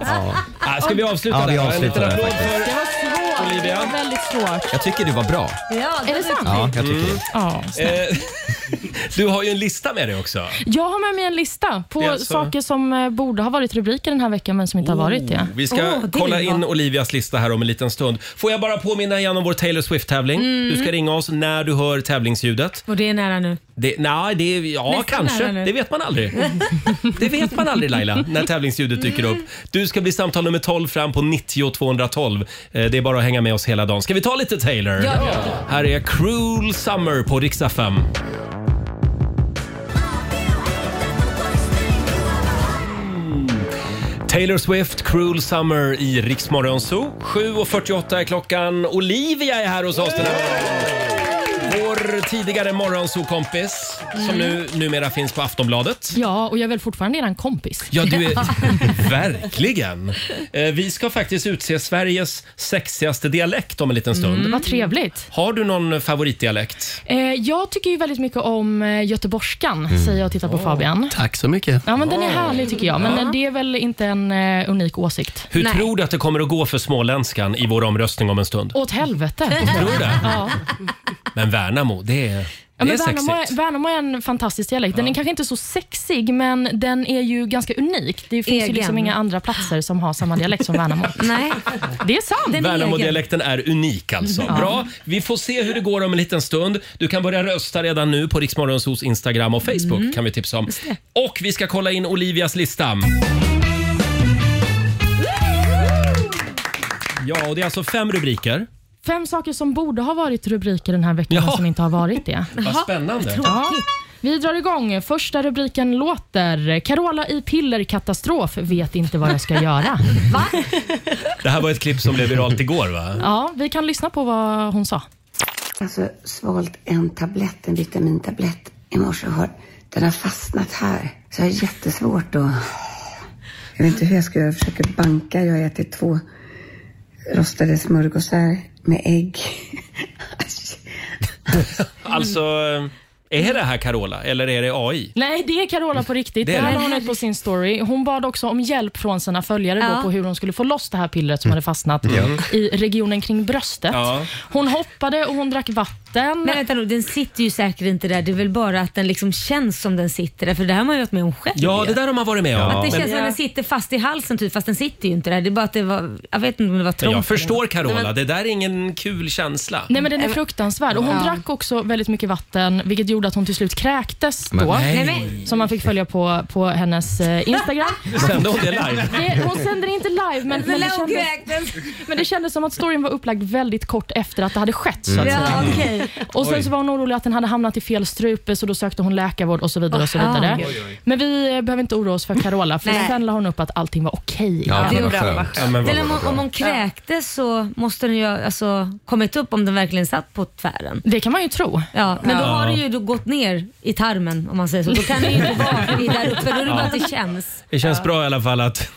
A: Ah, ska vi avsluta
C: Ja, vi
A: där?
C: avslutar
A: En liten
C: där
A: applåd
C: faktiskt.
A: för-
L: Det var svårt.
A: Olivia.
L: Det var väldigt svårt.
C: Jag tycker du var bra.
D: Ja,
L: Är det sant?
C: Ja, jag tycker
A: Mm.
C: det.
L: Ja.
A: Eh, du har ju en lista med dig också.
L: Jag har med mig en lista på
A: Det är alltså- Oh,
L: saker som eh, borde ha varit rubriker den här veckan, men som inte har varit det.
A: Vi ska kolla in Olivias lista här om en liten stund. Får jag bara påminna igen om vår Taylor Swift-tävling?
D: Mm.
A: Du ska ringa oss när du hör tävlingsljudet.
D: Och det är nära nu.
A: Det, nej, det, ja
D: Nästan nära
A: kanske.
D: nu.
A: Det vet man aldrig. Det vet man aldrig Laila, när tävlingsljudet dyker upp. Du ska bli samtal nummer 12 fram på 90 212. Eh, Det är bara att hänga med oss hela dagen. Ska vi ta lite Taylor?
B: Ja.
A: Här är Cruel Summer på riksdag 5. Taylor Swift, Cruel Summer i Rix Morgon Zoo. 7.48 är klockan. Olivia är här hos oss den här morgonen. Vår tidigare morgonzoo-kompis som
L: Mm.
A: nu, numera finns på Aftonbladet.
L: Ja, och jag är väl fortfarande eran kompis?
A: Ja, du är... Verkligen! Eh, Vi ska faktiskt utse Sveriges sexigaste dialekt om en liten stund.
L: Mm, vad trevligt.
A: Har du någon favoritdialekt?
L: Eh, jag tycker ju väldigt mycket om eh, göteborgskan,
A: Mm.
L: säger jag och tittar på Fabian.
J: Tack så mycket.
L: Ja, men den är härlig tycker jag, men
A: Ja.
L: eh, det är väl inte en eh, unik åsikt.
A: Hur tror du att det kommer att gå för småländskan i vår omröstning om en stund?
L: Åt helvete.
A: Tror du det?
L: Ja.
A: Men Värnamo, det är,
L: Ja,
A: det är
L: men Värnamo,
A: sexigt.
L: är, Värnamo är en fantastisk dialekt. Den är kanske inte så sexig, men den är ju ganska unik. Det finns ju
D: Egen.
L: liksom inga andra platser som har samma dialekt som Värnamo.
D: Nej.
L: Det är sant.
A: Värnamo-dialekten är unik alltså.
L: Ja.
A: Bra. Vi får se hur det går om en liten stund. Du kan börja rösta redan nu på Riksmorgonsos Instagram och Facebook kan vi tipsa om. Och vi ska kolla in Olivias lista. Ja, och det är alltså fem rubriker.
L: Fem saker som borde ha varit rubriker den här veckan, men som inte har varit det.
A: Vad spännande.
L: Ja. Vi drar igång. Första rubriken låter “Carola i pillerkatastrof vet inte vad jag ska göra”.
A: Det här var ett klipp som blev viralt igår va?
L: Ja, vi kan lyssna på vad hon sa.
M: Alltså svalt en tablett, en vitamintablett i morse och har, den har fastnat här. Så jag har jättesvårt att... Jag vet inte hur jag ska göra, jag försöker banka. Jag har ätit två rostade smörgåsar med ägg.
A: Alltså, Är det här Carola eller är det AI?
L: Nej, det är Carola på riktigt.
A: Det
L: Det,
A: är
L: här
A: det.
L: la hon ut på sin story. Hon bad också om hjälp från sina följare
N: Ja.
L: då på hur hon skulle få loss det här pillret som hade fastnat
N: Mm.
L: i regionen kring bröstet.
N: Ja.
L: Hon hoppade och hon drack vatten.
D: Men vänta nu, den sitter ju säkert inte där. Det är väl bara att den liksom känns som den sitter där. För det här har man ju varit med om själv.
A: Ja, det där har man varit med om.
D: Att det
A: Men-
D: känns som att den sitter fast i halsen typ, fast den sitter ju inte där. Det är bara att det var, jag vet inte om det var
A: Men
D: trångt.
A: jag förstår
D: Det
A: Carola,
D: var-
A: det där är ingen kul känsla.
L: Nej men den är fruktansvärd och hon
D: Ja.
L: drack också väldigt mycket vatten vilket gjorde att hon till slut kräktes
A: Men
L: då.
A: nej. Nej,
L: Som man fick följa på, på hennes eh, Instagram.
A: Sände hon det live?
L: Det, hon sänder det inte live men, men, det kändes, men det kändes som att storyn var upplagd väldigt kort efter att det hade skett. Så att
D: Mm.
L: säga.
D: Ja, okej.
L: Och sen
D: Oj.
L: så var hon orolig att den hade hamnat i fel strupe så då sökte hon läkarvård och så vidare. Och så
D: Aha.
L: vidare.
D: Oj, oj.
L: Men vi eh, behöver inte oroa oss för Carola för
D: Nej.
L: sen la hon upp att allting var okej.
D: Ja,
L: igen.
D: det var bra. Men om, hon- om hon kräktes så måste den ju ha, alltså, kommit upp om den verkligen satt på tvären.
L: Det kan man ju tro.
D: Ja, men då
L: Ja.
D: har det ju då gått ner i tarmen om man säger så. Då kan det ju inte vara det där uppe. Då är det bara att det känns.
A: Det känns bra i alla fall att,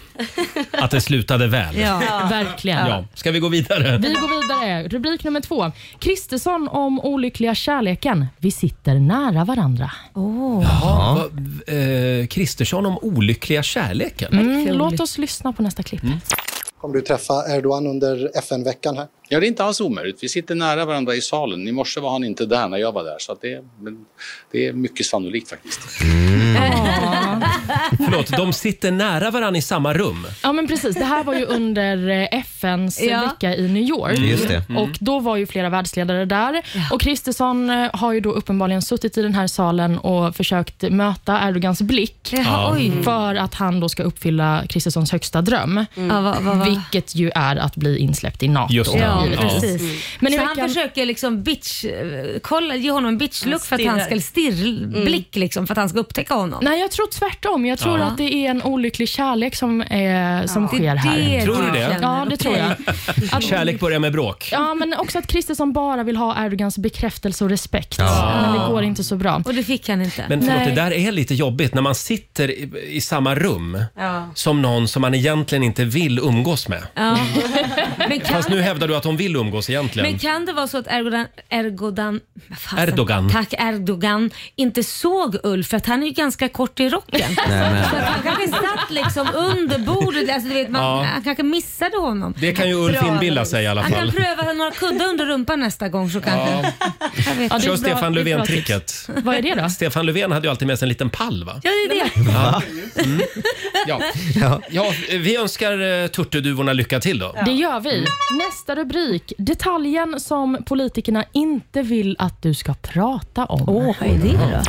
A: att det slutade väl.
L: Ja, verkligen.
A: Ja. Ska vi gå vidare?
L: Vi går vidare. Rubrik nummer två. Kristersson om olyckliga kärleken. Vi sitter nära varandra.
A: Jaha, vad- eh, Kristersson om olyckliga kärleken.
L: Mm, låt oss lyssna på nästa klipp.
O: Kommer du träffa Erdogan under FN-veckan här?
P: Ja, det är inte alls omöjligt. Vi sitter nära varandra i salen. I morse var han inte där när jag var där, så att det, men det är mycket sannolikt faktiskt.
D: Mm.
A: Förlåt, de sitter nära varandra i samma rum.
L: Ja men precis, det här var ju under eh, FNs
D: Ja.
L: vecka i New York.
A: Mm, just det. Mm.
L: Och Då var ju flera världsledare där. Och Kristersson eh, har ju då uppenbarligen suttit i den här salen och försökt möta Erdogans blick
D: Jaha, Ja.
A: Mm.
D: oj.
L: för att han då ska uppfylla Kristerssons högsta dröm.
D: Ja, vad- vad- vad?
L: Vilket ju är att bli insläppt i NATO.
D: Just det. Ja,
L: givetvis.
D: precis. Mm.
L: Men i
D: så
L: veckan-
D: han försöker liksom bitch, eh, kolla, ge honom en bitch-look för att han
L: stirrar.
D: ska stirrblick liksom, för att han ska upptäcka honom.
L: Mm. Nej, jag tror tvärtom. Jag tror
D: Ja.
L: att det är en olycklig kärlek som, eh, som
D: Det är
L: sker
D: det
L: här.
A: Tror du det?
L: Ja, det tror jag. Att-
A: Kärlek börjar med bråk.
L: Ja, men också att Kristersson bara vill ha Erdogans bekräftelse och respekt.
A: Ja.
L: Men det går inte så bra.
D: Och det fick han inte.
A: Men förlåt,
L: Nej.
A: det där är lite jobbigt när man sitter i, i samma rum
D: Ja.
A: som någon som man egentligen inte vill umgås med.
D: Ja. Men, kan,
A: Fast nu hävdar du att de vill umgås egentligen.
D: men kan det vara så att Erdogan, Erdogan, vad fan,
A: Erdogan.
D: Tack Erdogan inte såg Ulf för att han är ju ganska kort i rocken.
A: men-
D: Så att han kanske satt liksom under bordet. Alltså, du vet, man,
A: Ja.
D: Han kanske missade honom.
A: Det kan ju Ulf
D: Bra.
A: inbilla sig i alla
D: Han kan
A: fall.
D: pröva några kuddar under rumpan nästa gång så kanske...
A: Ja.
D: Jag vet inte.
A: Kör Stefan Löfven-tricket.
L: Vad är det då?
A: Stefan Löfven hade ju alltid med sig en liten pall va?
D: Ja, det är det.
A: Ja. Mm. Ja. ja, vi önskar eh, turturduvorna lycka till då.
L: Det gör vi. Nästa rubrik. Detaljen som politikerna inte vill att du ska prata om. Åh, vad är det då?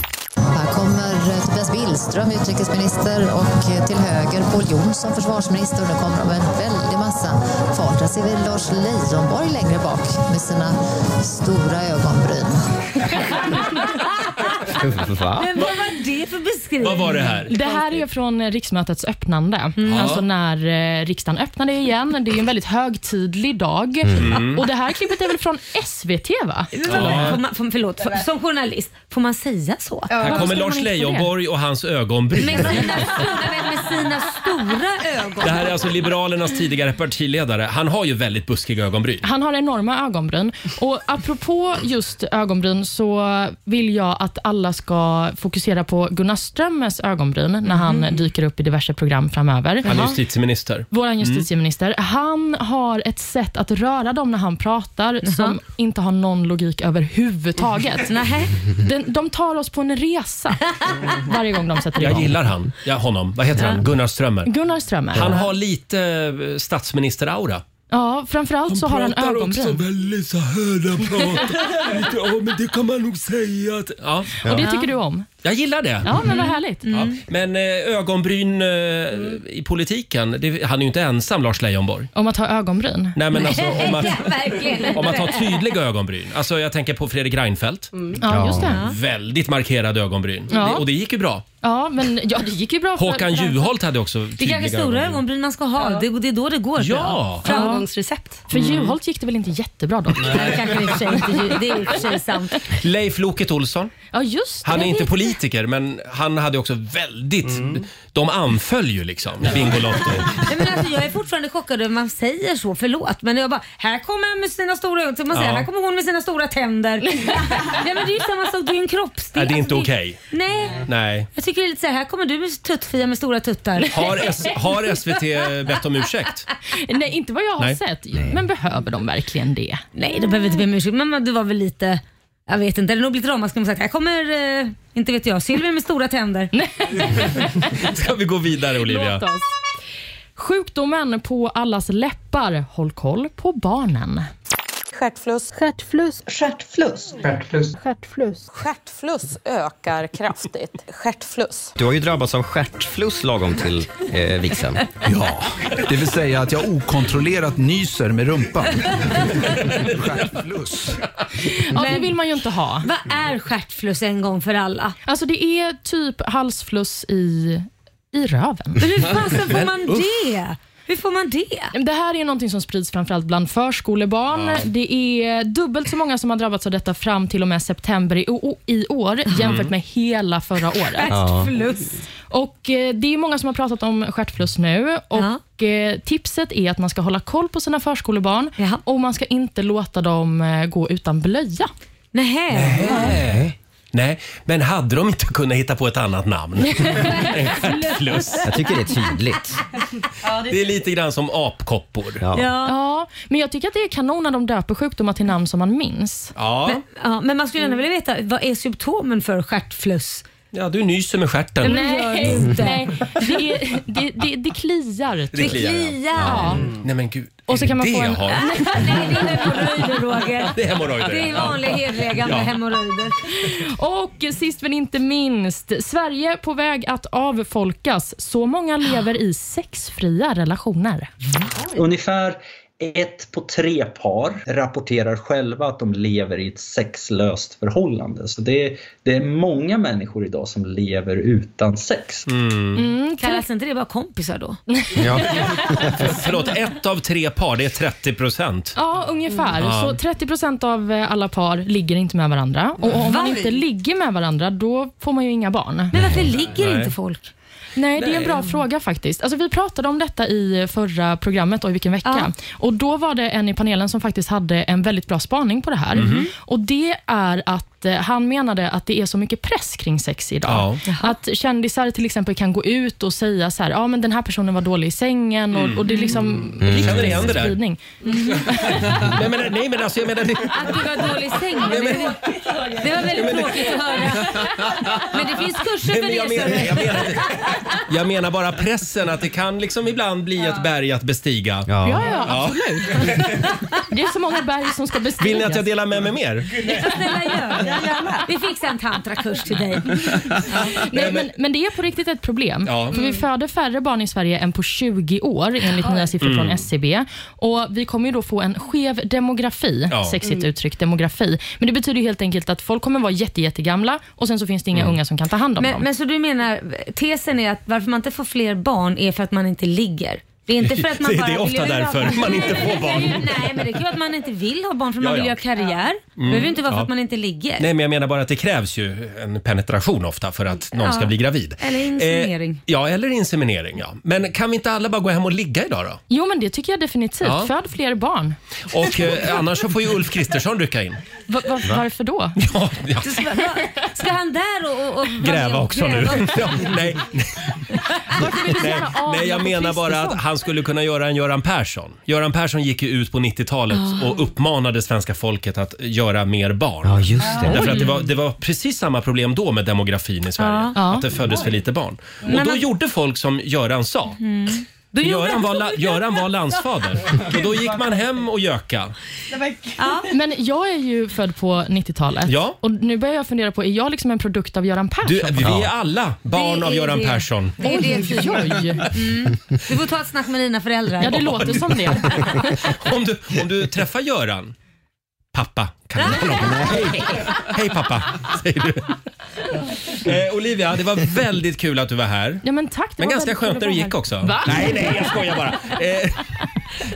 Q: Här kommer eh, Tobias Billström, utrikesminister, och eh, till höger Pål Jonsson, försvarsminister. Och nu kommer de en väldig massa fart. Här ser vi Lars Leijonborg längre bak med sina stora ögonbryn.
C: Va?
D: Men vad var det för beskrivning?
A: Vad var det här? Mm.
L: Det här är ju från eh, riksmötets öppnande.
A: Ja.
L: Alltså när eh, riksdagen öppnade igen. Det är ju en väldigt högtidlig dag.
D: Mm.
L: Och Det här klippet är väl från SVT? va?
D: Men vad- Får man, får, förlåt, får, som journalist, får man säga så?
A: Här kommer Lars Leijonborg och hans ögonbryn.
D: Med sina, stora, med sina stora ögon.
A: Det här är alltså Liberalernas tidigare partiledare. Han har ju väldigt buskiga ögonbryn.
L: Han har enorma ögonbryn. Och apropå just ögonbryn så vill jag att alla ska fokusera på Gunnar Strömmers ögonbryn när han dyker upp i diverse program framöver.
A: Han Mhm. är justitieminister. Mm.
L: Vår justitieminister. Han har ett sätt att röra dem när han pratar som inte har någon logik överhuvudtaget.
D: Nähä.
L: Den, de tar oss på en resa varje gång de sätter igång.
A: Jag gillar han. Ja, honom. Vad heter
L: Ja.
A: han? Gunnar Strömmer.
L: Gunnar Strömmer.
A: Han har lite eh, statsminister-aura.
L: Ja, framförallt så har han ögonbryn.
A: väldigt så här när han
L: pratar. Lite,
A: ja, men det kan man nog säga att... Ja.
L: Och det tycker du om?
A: Jag gillar det.
L: Ja, men vad härligt.
A: Ja. Men eh, ögonbryn eh, i politiken, det, han är ju inte ensam Lars Leijonborg.
L: Om att ha ögonbryn?
A: Nej, men alltså, om man-
D: Ja, verkligen.
A: Om man tar tydliga ögonbryn. Alltså jag tänker på Fredrik Reinfeldt.
L: Mm. Ja, just det.
A: Väldigt markerade ögonbryn.
L: Ja.
A: Det, och det gick ju bra.
L: Ja, men ja, det gick ju bra. för-
A: Håkan Juholt hade också
D: Det är
A: tydliga
D: kanske stora ögonbryn man ska ha. Det, det är då det går
A: Ja.
D: bra.
L: Framgångsrecept. För
A: Mm.
L: Juholt gick det väl inte jättebra dock?
A: Nej.
D: Det kanske i och för sig inte- det är i och för sig sant.
A: Leif Loket Olsson.
L: Ja, just det.
A: Han är
L: Jag
A: inte
L: vet
A: politiker, men han hade också väldigt... De anföll ju liksom Bingolotto.
D: Nej, men alltså, jag är fortfarande chockad över att man säger så, förlåt. Men jag bara, här kommer han med sina stora ögon. Så man säger,
A: Ja.
D: här kommer hon med sina stora tänder. Nej men det är ju samma sak, det är ju en kroppsdel.
A: Nej, det är inte
D: Alltså,
A: okej.
D: Nej.
A: Nej.
D: Jag tycker det är lite så här, här kommer du tuttfia med stora tuttar.
A: Har, S- har SVT bett om ursäkt?
D: Nej, inte vad jag
A: har Nej. sett.
D: Men
L: Behöver de verkligen det?
D: Nej, de behöver inte be om ursäkt. Men det var väl lite... Jag vet inte, det är nog blivit dramatiskt om man sagt här kommer, eh, inte vet jag, Silver med stora tänder.
A: Ska vi gå vidare Olivia?
L: Låt oss. Sjukdomen på allas läppar. Håll koll på barnen.
N: Stjärtfluss. Stjärtfluss. Stjärtfluss.
C: Stjärtfluss.
N: Stjärtfluss. Stjärtfluss ökar kraftigt. Stjärtfluss.
C: Du har ju drabbats av stjärtfluss lagom till eh, vigseln.
R: Ja, det vill säga att jag okontrollerat nyser med rumpan.
L: Ja, det vill man ju inte ha.
D: Vad är stjärtfluss en gång för alla?
L: Alltså det är typ halsfluss i, i röven.
D: Men hur fasen får man det? Hur får man det?
L: Det här är någonting som sprids framförallt bland förskolebarn.
D: Ja.
L: Det är dubbelt så många som har drabbats av detta fram till och med september i, o- i år jämfört
D: Mm.
L: med hela förra året.
D: Ja. Stjärtfluss.
L: Och eh, Det är många som har pratat om stjärtfluss nu. Och eh, Tipset är att man ska hålla koll på sina förskolebarn och man ska inte låta dem eh, gå utan blöja.
D: Nej.
A: Nej. Nej, men hade de inte kunnat hitta på ett annat namn? En stjärtfluss.
L: Jag tycker det är tydligt.
A: Det är lite grann som apkoppor.
L: Ja. men jag tycker att det är kanon när de döper sjukdomar till namn som man minns.
A: Ja.
D: Men, ja, men man skulle gärna vilja veta, vad är symptomen för stjärtfluss?
A: Ja, du nyser med stjärten.
L: Nej, nej. Det, är- det, det, det kliar. typ.
A: Det kliar. Ja. Nej men gud.
L: Och så kan man
A: det
L: få en...
A: jag har.
D: Nej, det är hemorrojder Roger.
A: Det är hemorrojder,
D: Det är
A: ja.
D: vanliga hederliga gamla
A: Ja.
D: hemorrojder.
L: Och sist men inte minst, Sverige på väg att avfolkas. Så många lever i sexfria relationer.
S: Ungefär ett på tre par rapporterar själva att de lever i ett sexlöst förhållande. Så det är, det är många människor idag som lever utan sex.
A: Mm.
D: Kallas inte det bara kompisar då?
A: Ja. Förlåt, ett av tre par, det är 30 procent.
L: Ja, ungefär.
A: Mm. Ja.
L: Så 30 procent av eh, alla par ligger inte med varandra. Och om man
D: Va?
L: inte ligger med varandra, då får man ju inga barn.
D: Men varför ligger
L: Nej.
D: inte folk?
L: Nej, det är en
D: Nej.
L: bra fråga faktiskt. Alltså, vi pratade om detta i förra programmet, och i vilken vecka. Och Då var det en i panelen som faktiskt hade en väldigt bra spaning på det här.
T: Mhm.
L: Och Det är att eh, han menade att det är så mycket press kring sex idag.
T: Ja.
L: Att kändisar till exempel kan gå ut och säga så här, ja men den här personen var dålig i sängen och, och det är liksom
A: Mm. Känner igen det där.
L: spridning.
A: Nej men, nej, men alltså jag menar... Det...
D: Att du var dålig i sängen, det, det var väldigt tråkigt att höra. Men det finns kurser
A: Nej,
D: för
A: men jag
D: det.
A: menar,
D: så-
A: jag, menar, jag menar bara pressen, att det kan liksom ibland bli ett berg att bestiga.
L: Ja, ja, absolut. det är så många berg som ska bestigas.
A: Vill ni att jag delar med mig mer?
D: Snälla gör det. Vi fixar en tantrakurs till dig.
L: Nej, men, men det är på riktigt ett problem.
A: Ja.
L: För Vi
A: Mm.
L: föder färre barn i Sverige än på 20 år enligt nya siffror
T: Mm.
L: från SCB. Och Vi kommer ju då få en skev demografi,
T: Ja.
L: sexigt
T: Mm.
L: uttryckt demografi. Men det betyder ju helt enkelt att folk kommer vara jätte, jättegamla och sen så finns det inga
A: Mm.
L: unga som kan ta hand om
D: Men,
L: dem.
D: men så du menar, tesen är att varför man inte får fler barn är för att man inte ligger? Det är inte för att man
A: Det-
D: bara
A: det är
D: vill göra
A: ofta därför
D: barn.
A: man inte får barn.
D: Nej, men det kan ju vara att man inte vill ha barn för
A: Ja,
D: man vill
A: ja.
D: göra karriär. Det
A: Mm,
D: behöver ju inte vara för
A: ja.
D: att man inte ligger.
A: Nej men jag menar bara att det krävs ju en penetration ofta för att någon
D: Ja.
A: ska bli gravid.
D: Eller inseminering.
A: Eh, ja, eller inseminering ja. Men kan vi inte alla bara gå hem och ligga idag då?
L: Jo, men det tycker jag definitivt.
A: Ja.
L: Föd fler barn.
A: Och eh, annars så får ju Ulf Kristersson rycka in.
L: Va, va,
A: Va?
L: varför då?
A: Ja, ja.
D: Ska han där och... och, och
A: Gräva också nu.
D: Gräva. Alltså,
A: Ja, nej,
L: Varför vill du
A: nej,
L: gärna avla
A: nej, jag
L: på
A: menar bara att
L: Kristersson?
A: han skulle kunna göra en Göran Persson. Göran Persson gick ju ut på 90-talet
L: Ah.
A: och uppmanade svenska folket att göra mer barn.
C: Ja, just det.
A: Därför att det
C: Oj.
A: var, det var precis samma problem då med demografin i Sverige.
D: Ja.
A: Att det föddes för lite barn.
D: Men
A: Och då
D: han-
A: gjorde folk som Göran sa.
D: Mm. Då gjorde
A: Göran
D: han-
A: var, la, Göran var landsfader och då gick man hem och göka.
L: Ja. Men jag är ju född på 90-talet
A: Ja.
L: och nu börjar jag fundera på, är jag liksom en produkt av Göran Persson?
A: Du, vi är
L: Ja.
A: alla barn
L: Det
A: av
L: är
A: Göran
L: det.
A: Persson.
D: Det är det
L: Oj, oj.
D: Mm. Du får ta ett snack med dina föräldrar.
L: Ja, det låter som det.
A: Om du, om du träffar Göran, pappa, kan du kolla på mig? Hej, hej pappa, säger du. Eh, Olivia, det var väldigt kul att du var här.
L: Ja, men tack. det
A: Men
L: var
A: ganska
L: väldigt
A: skönt
L: kul att
A: när du
L: vara
A: gick
L: här.
A: också.
L: Va?
A: Nej, nej, jag skojar bara. Eh,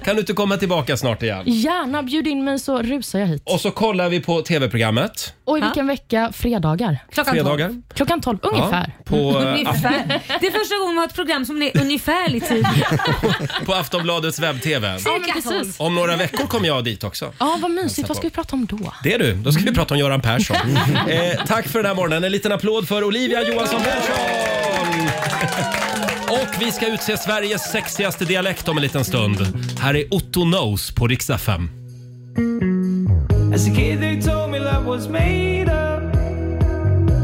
A: Kan du inte komma tillbaka snart igen?
L: Gärna, bjud in mig så rusar jag hit.
A: Och så kollar vi på tv-programmet.
L: Och i vilken vecka? Fredagar.
A: Klockan Fredagar. tolv.
L: Klockan 12,
A: Ja,
L: ungefär.
A: på, eh,
D: Ungefär. Det är första gången vi har ett program som är typ. ungefärlig tid.
A: På Aftonbladets webb-tv.
L: Ja, men precis.
A: Om några veckor kommer jag dit också.
L: Ja, vad mysigt. Vad ska vi prata om då?
A: Det är du. Då ska vi prata om Göran Persson.
L: Mm.
A: Eh, tack för den här morgonen. En liten applåd för Olivia Johansson Persson! Och vi ska utse Sveriges sexigaste dialekt om en liten stund. Här är Otto Knows på riksdag 5.
F: As a kid, they told me love was made up.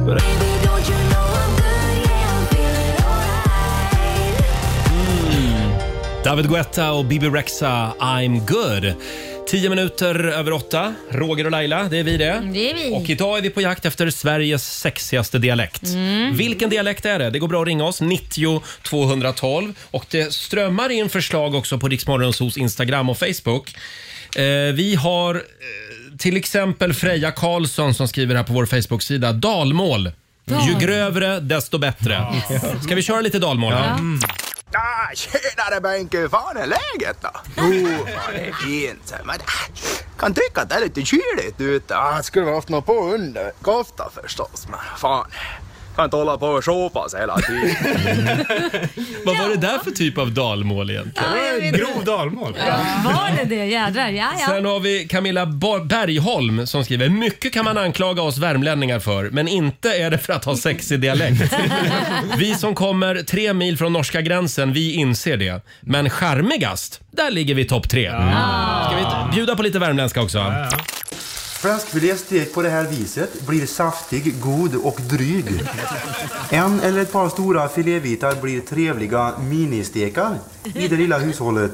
F: But
A: David Guetta och Bibi Rexa, I'm good. Tio minuter över åtta. Roger och Laila, det är vi Mm, det.
D: Det är vi.
A: Och idag är vi på jakt efter Sveriges sexigaste dialekt.
D: Mm.
A: Vilken dialekt är det? Det går bra att ringa oss, 90 212. Och det strömmar in förslag också på Riksmorgonsos Instagram och Facebook. Eh, vi har eh, till exempel Freja Karlsson som skriver här på vår Facebook-sida, dalmål.
B: Dal-
A: Ju grövre, desto bättre.
B: Yes.
A: Ska vi köra lite dalmål? här?
B: Ja. Ah, tjenare Benke! Fan är läget då? Jo, fan det är fint. Men ah, kan tycka att det är lite kyligt ute. Ah, skulle vi haft något på underkoftan förstås. Men fan, kan inte hålla på och såpas hela tiden.
A: Vad var det där för typ av dalmål egentligen?
D: Ja, jag vet
A: Grov dalmål.
D: Var det det? Jädrar, ja ja.
A: Sen har vi Camilla Ba- Bergholm som skriver “Mycket kan man anklaga oss värmlänningar för, men inte är det för att ha sexig dialekt. Vi som kommer tre mil från norska gränsen, vi inser det. Men charmigast, där ligger vi i topp tre. Mm. Ska vi t- bjuda på lite värmländska också?
T: Fläskfilé stekt på det här viset blir saftig, god och dryg. En eller ett par stora filébitar blir trevliga ministekar i det lilla hushållet.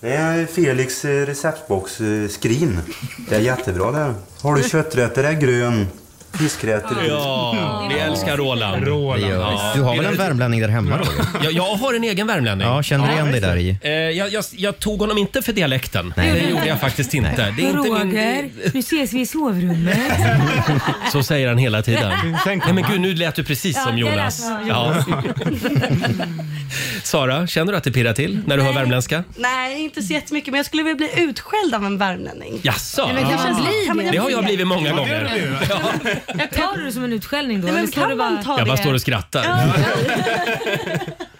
T: Det är Felix eh, receptbox eh, skrin. Det är jättebra det här. Har du kötträtter är grön. Fiskrätter.
A: Ja, vi älskar Roland.
C: Det gör vi. Du har väl en värmlänning där hemma? Roger?
A: Jag, jag har en egen värmlänning.
C: Ja, känner du igen dig där i?
A: Eh, jag, jag, jag tog honom inte för dialekten.
C: Nej.
A: Det gjorde jag faktiskt inte. Det är inte min
D: Roger, nu ses vi i sovrummet.
A: Så säger han hela tiden.
D: Sen
A: Nej men gud, nu lät du precis
D: Ja,
A: som
D: jag lät
A: Jonas.
D: som
A: Ja.
D: Jonas.
A: Sara, känner du att det pirrar till när du hör värmländska?
I: Nej, inte så jättemycket, men jag skulle väl bli utskälld av en värmlänning.
A: Jaså?
I: Nej, men kan man bli
A: det?
I: det?
A: har jag blivit många
I: Ja, det
A: gånger.
D: Jag tar det som en utskällning då.
I: Nej, men
D: eller står
I: kan
D: du bara...
I: man ta
A: Jag bara står och skrattar.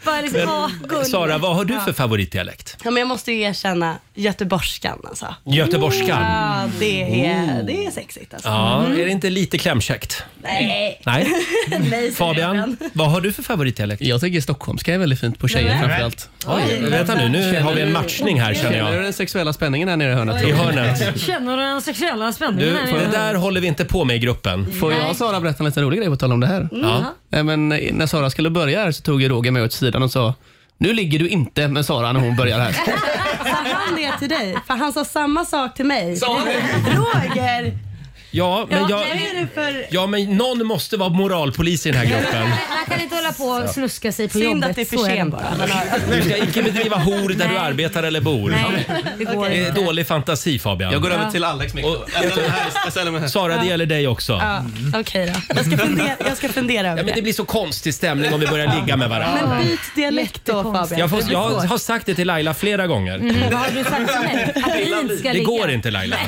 D: Bara liksom, åh,
A: Men,
D: gulligt.
A: Sara, vad har du
I: Ja.
A: för favoritdialekt?
I: Ja, men jag måste ju erkänna göteborgskan alltså.
A: Göteborgskan? Oh.
I: Ja, det är, det är sexigt alltså.
A: Ja, är det inte lite klämkäckt?
I: Nej.
A: Nej.
I: Nej,
A: Fabian, vad har du för favoritdialekt?
J: Jag tycker stockholmska är väldigt fint på tjejer
A: Nej.
J: framförallt.
A: Oj, vänta nu, nu har vi en matchning här, känner jag.
J: Känner du den sexuella spänningen här nere i hörnet?
A: I hörnet.
D: Känner du den sexuella
J: Du,
D: spänningen? här
J: får
D: inne?
J: jag-
A: Det där håller vi inte på med i gruppen.
J: Får jag och Sara berätta en liten rolig grej på tal om det här?
A: Ja.
J: Nej, men eh, när Sara skulle börja här så tog ju Roger mig åt sidan och sa nu ligger du inte med Sara när hon börjar här.
I: Sa han det till dig? För han sa samma sak till mig. Sa Roger!
A: Ja, men
I: Ja,
A: jag...
I: vad är det för-
A: Ja, men någon måste vara moralpolis i den här gruppen.
D: Man kan inte hålla på och
A: Så.
D: snuska sig på
I: Synd
D: jobbet.
I: att det är för
D: Så
I: sent
D: bara.
I: bara.
A: Du ska inte bedriva hor där du arbetar eller bor.
D: Nej, det går
A: Det är
D: inte.
A: dålig fantasi Fabian.
J: Jag går över till Alex Mikko.
A: Sara, det gäller dig också.
I: Ja, Okej då. Jag ska fundera, jag ska fundera över
A: Mm. Ja, men det
I: det.
A: blir så konstig stämning om vi börjar ligga med varandra.
I: Men byt dialekt då Fabian.
A: Jag, får,
I: Det blir
A: jag
I: svårt.
A: har sagt det till Laila flera gånger.
D: Vad har du sagt till mig? Att vi inte ska
A: Det
D: ligga?
A: går inte Laila.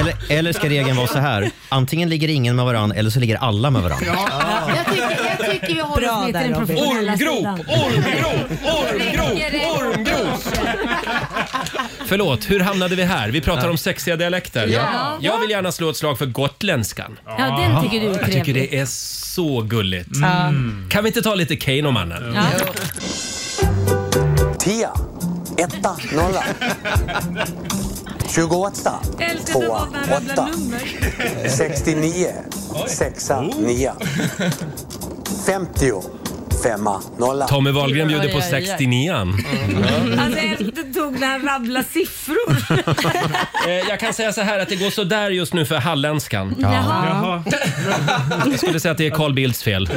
C: Eller, eller ska regeln vara så här? Antingen ligger ingen med varann eller så ligger alla med varann.
D: Jag tycker, jag tycker vi håller
B: Bra
D: oss lite
B: där,
D: i den
B: Robin.
D: professionella
B: Ormgrop,
D: sidan.
A: Ormgrop,
D: Räcker det?
A: ormgrop, ormgrop! Förlåt, hur hamnade vi här? Vi pratar om sexiga dialekter.
D: Ja.
A: Jag vill gärna slå ett slag för gotländskan.
D: Ja, den tycker du är
A: Jag tycker
D: trevlig.
A: det är så gulligt.
D: Mm.
A: Kan vi inte ta lite Keinomannen?
D: Ja.
F: Tia, etta, nolla. 28,
D: Älskar att
F: tvåa,
D: Robban rabblar
F: åtta.
D: nummer.
F: 69, sexa, nia. 50, femma, nolla.
A: Tommy Wahlgren bjuder på
D: Oj, oj, oj.
A: 69an.
D: Alltså jag tog när han rabblade siffror.
A: Eh, Jag kan säga så här att det går så där just nu för halländskan.
D: Jaha. Jaha.
A: Jag skulle säga att det är Carl Bildts fel.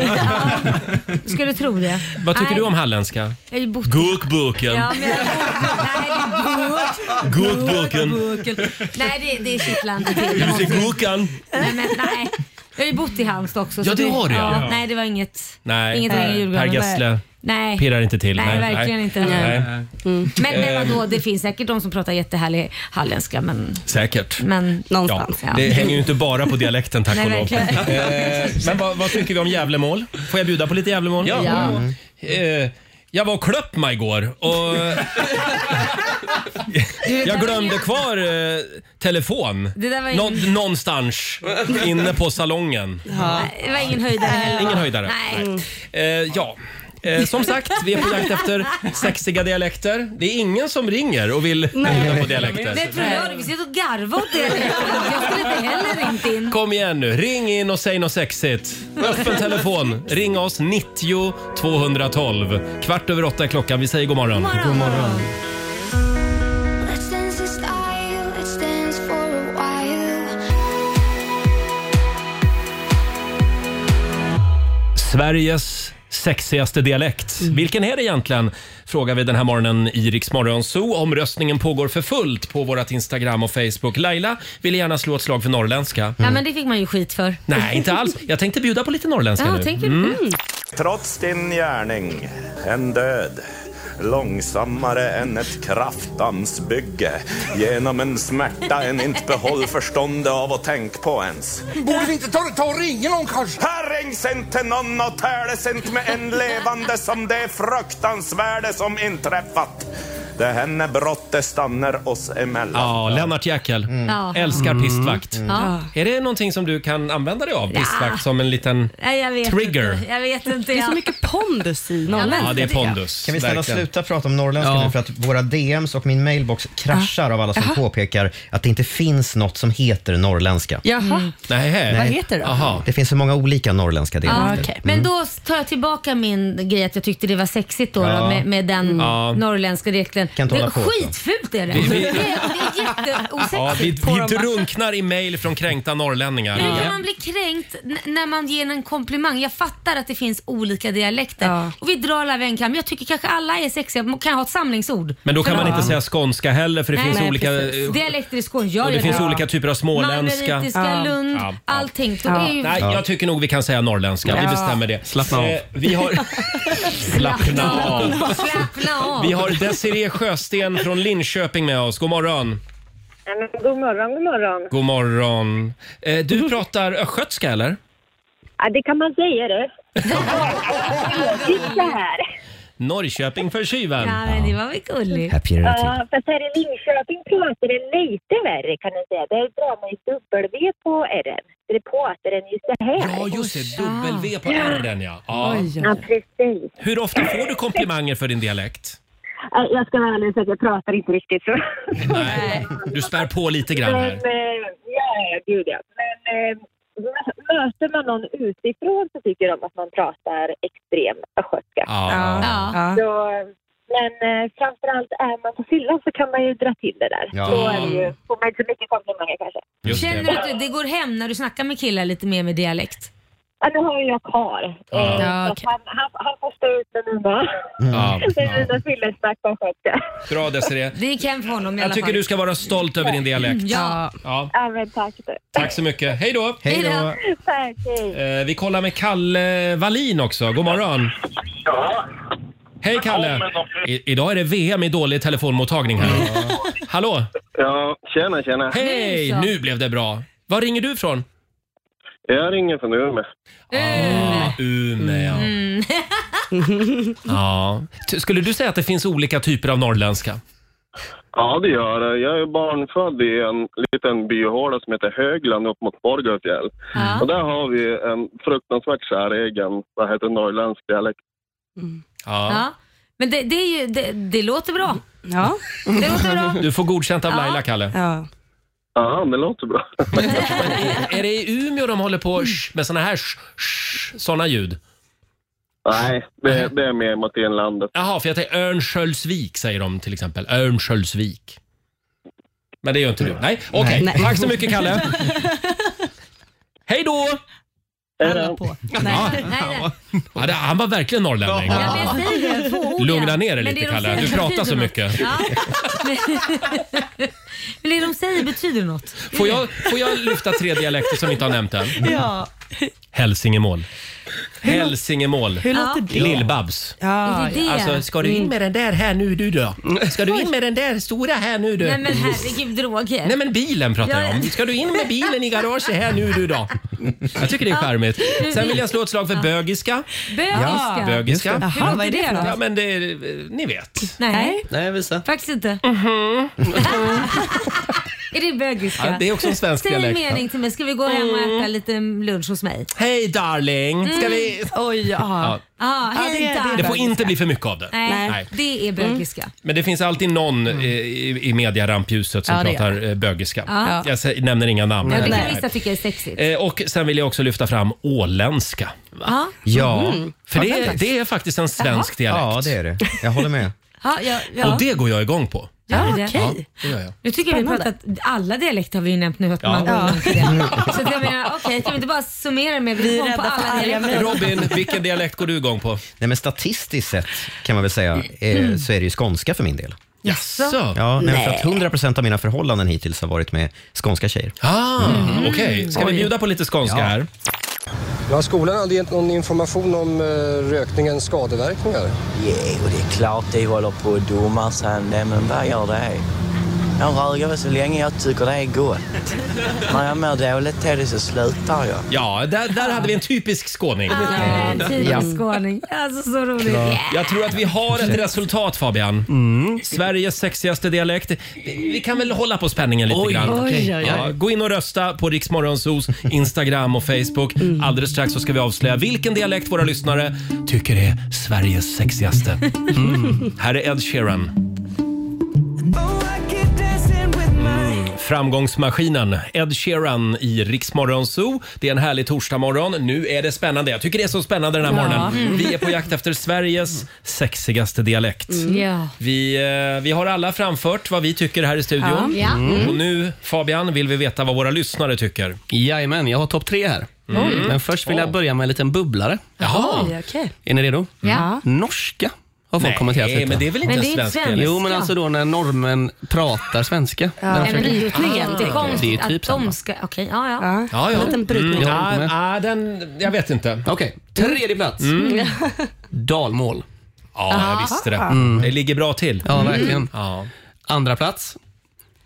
D: Ska du tro det?
A: Vad tycker
D: Nej,
A: du om halländska?
D: Jag har ju bott...
A: Gurkburken.
D: Ja, men jag... Nej, det är gurk.
A: Gurkburken.
D: Gurken. Nej, det, det är kittlande till.
A: Är du till gurkan?
D: Nej, men nej. Jag har ju bott i Halmstad också. så
A: Ja, det har du, ja. Ja.
D: Nej, det var inget,
A: Nej,
D: inget häng i
A: Per
D: julgranen.
A: Gessle
D: Nej.
A: pirrar inte till.
D: Nej, verkligen inte.
A: Nej.
D: Mm. Men, men
A: Ehm.
D: vadå, det finns säkert de som pratar jättehärlig halländska men,
A: Säkert.
D: men någonstans. Ja,
A: Det hänger ju inte bara på dialekten tack
D: Nej,
A: och lov.
D: verkligen.
A: Eh, Men vad, vad tycker vi om Gävlemål? Får jag bjuda på lite Gävlemål?
D: Ja. Ja. Mm.
A: Eh, Jag var och klöpp mig igår och jag glömde kvar eh, telefon
D: Det där var
A: Nå-
D: ingen-
A: någonstans inne på salongen.
D: Nej, Det var ingen höjdare heller.
A: Ingen höjdare.
D: Nej.
A: Eh, ja. Eh, som sagt, vi är på jakt efter sexiga dialekter. Det är ingen som ringer och vill höra på dialekter.
D: Det tror jag. Vi sitter och garvar åt det. Jag skulle inte heller ringt in.
A: Kom igen nu, ring in och säg något sexigt. Öppen telefon. Ring oss 90 212. Kvart över åtta är klockan. Vi säger god morgon.
D: God morgon. God morgon.
A: Sveriges sexigaste dialekt.
D: Mm.
A: Vilken är det egentligen? Frågar vi den här morgonen i Rix Morgon Zoo. Omröstningen pågår för fullt på vårt Instagram och Facebook. Laila vill gärna slå ett slag för norrländska.
D: Ja, men det fick man ju skit för.
A: Mm. Nej, inte alls. Jag tänkte bjuda på lite norrländska
D: Ja,
A: nu.
D: tänker du?
A: Mm.
D: Mm.
U: Trots din gärning, en död långsammare än ett kraftdammsbygge genom en smärta en inte behåll förståndet av att tänka på ens.
V: Borde vi inte ta, ta och ringa någon kanske?
U: Här rings inte någon och täles inte med en levande som det fruktansvärde som inträffat. Det henne brottet stannar oss emellan.
A: Ja, Lennart Jäkel.
D: Ja.
A: Älskar
D: Mm.
A: pistvakt.
D: Ja.
A: Är det någonting som du kan använda dig av? Pistvakt
D: Ja.
A: som en liten...
D: Nej, jag vet
A: Trigger.
D: Inte. Jag vet inte.
I: Det är
D: Jag-
I: så mycket pondus i norrländska.
A: Ja, det är pondus.
C: Kan vi snälla
A: verkligen.
C: sluta prata om norrländska
A: Ja.
C: nu för att våra DMs och min mailbox
D: Ah.
C: kraschar av alla som påpekar att det inte finns något som heter norrländska.
D: Jaha.
A: Nej.
D: Vad heter det då? Aha.
C: Det finns så många olika norrländska Mm.
D: Ja, Ah,
C: dialekter.
A: Mm.
D: okej. Men då tar jag tillbaka min grej att jag tyckte det var sexigt då,
C: Ja.
D: då med, med den
A: Ja.
D: norrländska dialekten.
A: Kan inte
D: det,
A: hålla på så.
D: skitfult är det.
A: Vi- vi-
D: Det, är- det är jätteosexigt.
A: Ja, vi,
D: på
A: vi
D: dem.
A: drunknar i mejl från kränkta norrlänningar.
D: Hur kan man bli kränkt n- när man ger en komplimang? Jag fattar att det finns olika dialekter och vi drar alla över en kam. Jag tycker kanske alla är sexiga. Kan jag ha ett samlingsord?
A: Men då kan
D: För
A: man
D: dem?
A: inte säga skånska heller för det
D: Nej,
A: finns
D: nej,
A: olika... eh,
D: precis. Dialekter i Skåne, ja,
A: och det
D: ja,
A: finns
D: ja.
A: olika typer av småländska.
D: Margaritiska, Lund,
A: Ja.
D: allting. Då är ju...
A: Nej, jag tycker nog vi kan säga norrländska. Vi
D: Ja.
A: bestämmer det. Eh,
J: Slappna av.
A: vi har... Slappna av.
D: Slappna av.
A: Vi har Desiree Sjösten från Linköping med oss. God morgon.
W: Ja, men God morgon, god morgon.
A: God morgon. Eh, Du pratar östgötska eller?
W: Ja, det kan man säga det. Titta här.
A: Norrköping för tjuven.
D: Ja, men det var väl gulligt.
W: Ja, fast här i Linköping pratar det lite värre kan man säga. Där drar man ju W på R. Det pratar den ju så här.
A: Ja, just det. W på R den ja. ja.
W: Ja, precis.
A: Hur ofta får du komplimanger för din dialekt?
W: Ja, Jag ska vara ärlig och säga att jag pratar inte riktigt så.
A: Du spär på lite grann
W: Men,
A: här.
W: eh, ja, gud ja. Men eh, mö- möter man någon utifrån så tycker de att man pratar extrem östgötska.
A: Ja.
W: Ja. Så, men eh, framförallt är man på fyllan så kan man ju dra till det där.
A: Ja.
W: Då är det ju, får man inte så mycket komplimanger kanske.
A: Just
D: Känner du att det går hem när du snackar med killar lite mer med dialekt?
W: Ja, nu har ju jag kar. Eh,
A: Ja.
W: så
A: Ja,
W: att han, han, han får stå ut med mina,
A: Ja.
W: med mina fyllesnack på skötska.
A: Bra Desiree.
D: Det gick hem för honom i alla
A: Jag tycker
D: fall.
A: du ska vara stolt över din dialekt.
D: Ja.
A: ja.
W: Ja, men tack.
A: Tack så mycket. Hej då!
W: Hej då. Tack, hej.
A: Eh, vi kollar med Kalle Wallin också. God morgon! Hej Kalle! I, idag är det VM i dålig telefonmottagning här. Hallå!
X: Ja, tjena, tjena.
A: Hej! Nu blev det bra. Var ringer du ifrån?
X: Jag ringer från Umeå.
A: Ah, Umeå.
D: Eh. Mm.
A: Ja. T- Skulle du säga att det finns olika typer av norrländska?
X: Ja, det gör det. Jag är barnfödd i en liten byhåla som heter Högland upp mot Borgafjäll.
D: Ja.
X: Och där har vi en fruktansvärt säregen, vad heter det, norrländsk dialekt.
D: Ja. Men det, det, är ju, det, det låter bra.
I: Ja.
D: Det låter bra.
A: Du får godkänt av
D: Ja.
A: Laila, Kalle.
I: Ja.
X: Ja, det låter bra.
A: Är det i Umeå de håller
E: Mm.
A: på sh, med såna här sh, sh, såna ljud?
X: Nej, det, det är mer mot inlandet.
A: Jaha, för jag tänkte Örnsköldsvik säger de till exempel. Örnsköldsvik. Men det gör inte du. Nej, okej.
X: Nej.
A: Tack så mycket Kalle. Hej då!
X: Hej
I: på.
A: Ja.
D: Nej, nej.
A: Ja, det, han var verkligen norrlänning.
D: Ja, men jag säger det, tvåordiga.
A: Lugna ner dig
D: Men det
A: lite
D: de
A: Kalle.
D: säger
A: Du pratar
D: betyder
A: så
D: något.
A: mycket.
D: Ja. Men- Men det de säger betyder något.
A: Får jag, får jag lyfta tre dialekter som vi inte har nämnt än?
I: Ja.
A: Hälsingemål.
E: Hur lå-
A: Hälsingemål.
E: Hur låter det?
A: Lill-Babs.
E: Ja,
A: Är det Mm. det?
E: Alltså, ska du in med den där här nu du då? Ska du in med den där stora här nu du?
D: Nej men herregud Roger.
E: Nej men bilen pratar jag
D: Ja.
E: om. Ska du in med bilen i garaget här nu du då? Jag tycker det är charmigt. Sen vill jag slå ett slag för bögiska.
D: Bögiska?
E: Ja, bögiska.
D: Just det. Jaha, vad är det då?
E: Ja, men det, är- ni vet.
D: Nej,
E: Nej, visa.
D: faktiskt inte.
I: Mm-hmm.
D: är det bögiska?
E: Ja, det är också en svensk
D: Säg en
E: dialekt.
D: mening till mig. Ska vi gå hem och
I: Mm.
D: äta lite lunch hos mig?
E: Hej darling! Mm. Ska vi...
I: Oj,
E: Ja.
D: Mm. Ja, Ah, hej
I: det är- det är
D: darling.
A: Det får inte bli för mycket av det.
D: Nej,
I: Mm.
D: det är bögiska.
A: Men det finns alltid någon eh, i, i mediarampljuset som
D: Ja, det
A: pratar
D: gör
A: eh, bögiska.
D: Ja.
A: Jag sä- nämner inga namn.
D: Ja, det kan
A: Nej.
D: vissa tycka är sexigt.
A: Eh, Och sen vill jag också lyfta fram åländska.
D: Ja.
A: Ja,
D: Mm.
A: för det
D: Ja,
A: är, det är faktiskt en svensk dialekt. Ja, det är det.
C: Jag håller med.
D: Ja, ja, ja.
A: Och det går jag igång på.
D: Ja, det-
A: det gör jag.
D: Nu tycker jag vi pratat, alla dialekter har vi ju nämnt nu att
A: Ja.
D: man går
A: Ja.
D: igång till det. Så att jag menar, okej, kan vi inte bara summera med att vi
I: Vi är
D: kom på
I: rädda för
D: alla
I: arga
D: dialekter?
A: Robin, vilken dialekt går du igång på?
C: Nej, men statistiskt sett kan man väl säga eh,
D: Mm.
C: så är det ju skånska för min del.
A: Jaså?
C: Ja, nej. För
A: Nej.
C: att 100% av mina förhållanden hittills har varit med skånska tjejer.
A: Ah, Okej, ska vi
C: Oj.
A: bjuda på lite skånska
C: Ja.
A: här?
G: Ja, skolan hade gett någon information om eh, rökningens skadeverkningar.
H: Jo, det är klart de håller på och domar sig. Nej, men vad gör det? Jag röker väl så länge jag tycker det är gott. När jag mår dåligt av det så slutar jag.
A: Ja, där, där hade vi en typisk skåning.
D: Ah, en
A: Ja.
D: typisk skåning. Alltså så roligt.
A: Jag tror att vi har ett resultat Fabian.
E: Mm.
A: Sveriges sexigaste dialekt. Vi vi kan väl hålla på spänningen lite
E: Oj,
A: grann.
E: oj, oj, oj.
A: Ja, gå in och rösta på Riksmorgonsos Instagram och Facebook.
E: Mm.
A: Mm. Alldeles strax så ska vi avslöja vilken dialekt våra lyssnare tycker är Sveriges sexigaste. Mm. Här är Ed Sheeran. Framgångsmaskinen Ed Sheeran i Riksmorgonzoo. Det är en härlig torsdagmorgon. Nu är det spännande. Jag tycker det är så spännande den här
E: Ja.
A: morgonen.
E: Mm.
A: Vi är på jakt efter Sveriges sexigaste dialekt.
E: Mm. Ja.
A: Vi, eh, vi har alla framfört vad vi tycker här i studion.
E: Ja. Ja. Mm.
A: Och nu Fabian vill vi veta vad våra lyssnare tycker.
J: Jajamän, jag har topp tre här.
A: Mm.
J: Men först vill jag
A: Oj.
J: börja med en liten bubblare.
I: Oj, okej.
J: Är ni redo?
I: Ja.
J: Norska har folk
A: Nej,
J: kommenterat lite.
A: men det är väl inte Men det är svensk inte dialekt?
J: Jo, men alltså då när norrmän pratar svenska.
D: Ja,
J: När de
D: nej, men det är ju
J: försöker-
A: Ah.
J: Det är ju
D: jättekonstigt
J: typ
D: att
J: samma.
D: de ska... Okej, ja, ja.
A: Ja, ja.
J: brytning.
A: Mm,
J: Jag håller
A: ja,
J: med.
A: ja, den, jag vet inte.
J: Okej, tredje plats.
A: Mm.
J: Dalmål. Mm.
A: Ja, jag visste det. Det ligger bra till.
J: Ja,
A: Mm.
J: verkligen. Andra plats.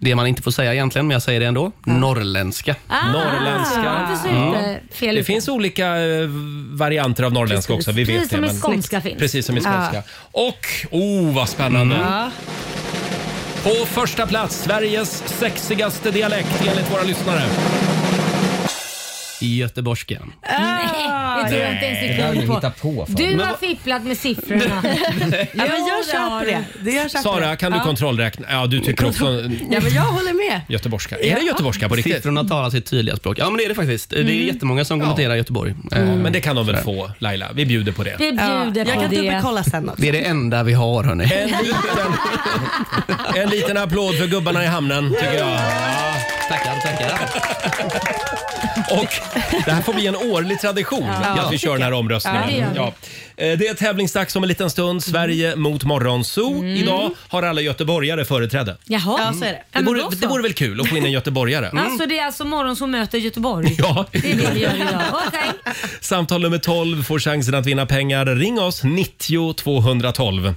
J: Det man inte får säga egentligen, men jag säger det ändå. Norrländska. Mm.
D: Ah, varför säger du inte fel
A: Det
D: ut?
A: finns olika eh, varianter av norrländska också. Vi vet
D: Precis
A: det,
D: som i
A: men-
D: skånska finns.
A: Precis som i skånska.
D: Ja.
A: Och, oh vad spännande.
D: Ja.
A: På första plats, Sveriges sexigaste dialekt enligt våra lyssnare.
J: Göteborgska.
D: Nej, det tror jag inte ens du
J: Nej, det
D: är
J: där
D: klok
J: du hittar på,
D: på.
J: fan.
D: Du
J: Men
D: har
J: vad-
D: fipplat med siffrorna.
I: Ja, men jag
D: Jo, har
I: köper det.
D: du.
I: det jag köper
A: Sara,
I: det.
A: kan du
I: ja.
A: kontrollräkna? Ja, du tycker också
I: Ja, men jag håller med.
A: göteborgska. Är det göteborgska på riktigt?
J: Siffrorna talar sitt tydliga språk. Ja, men det är det faktiskt. Det är
A: Mm.
J: jättemånga som
A: Ja. Mm.
J: kommenterar Göteborg. Eh,
A: Men det kan de väl
J: sådär.
A: få, Laila? Vi bjuder på det.
D: Vi bjuder
I: jag
D: på
I: kan
D: det.
I: dubbelkolla sen också.
J: Det är det enda vi har, hörni.
A: En liten, en liten applåd för gubbarna i hamnen, tycker jag.
J: Tackar, tackar.
A: Och det här får bli en årlig tradition
E: Ja.
A: att vi kör den här omröstningen.
E: Ja, det gör vi.
A: Ja. Eh, Det är tävlingsdags om en liten
D: Mm.
A: stund. Sverige mot Morgonzoo. Idag har alla göteborgare företräde.
D: Jaha.
A: Mm.
D: Ja, så är det.
A: Det
D: men
A: vore,
D: då så.
A: det vore väl kul att få in en göteborgare?
D: Alltså det är alltså morgon som möter Göteborg.
A: Ja.
D: Det är det vi gör idag. Okej.
A: Samtal nummer 12 får chansen att vinna pengar. Ring oss 90 212.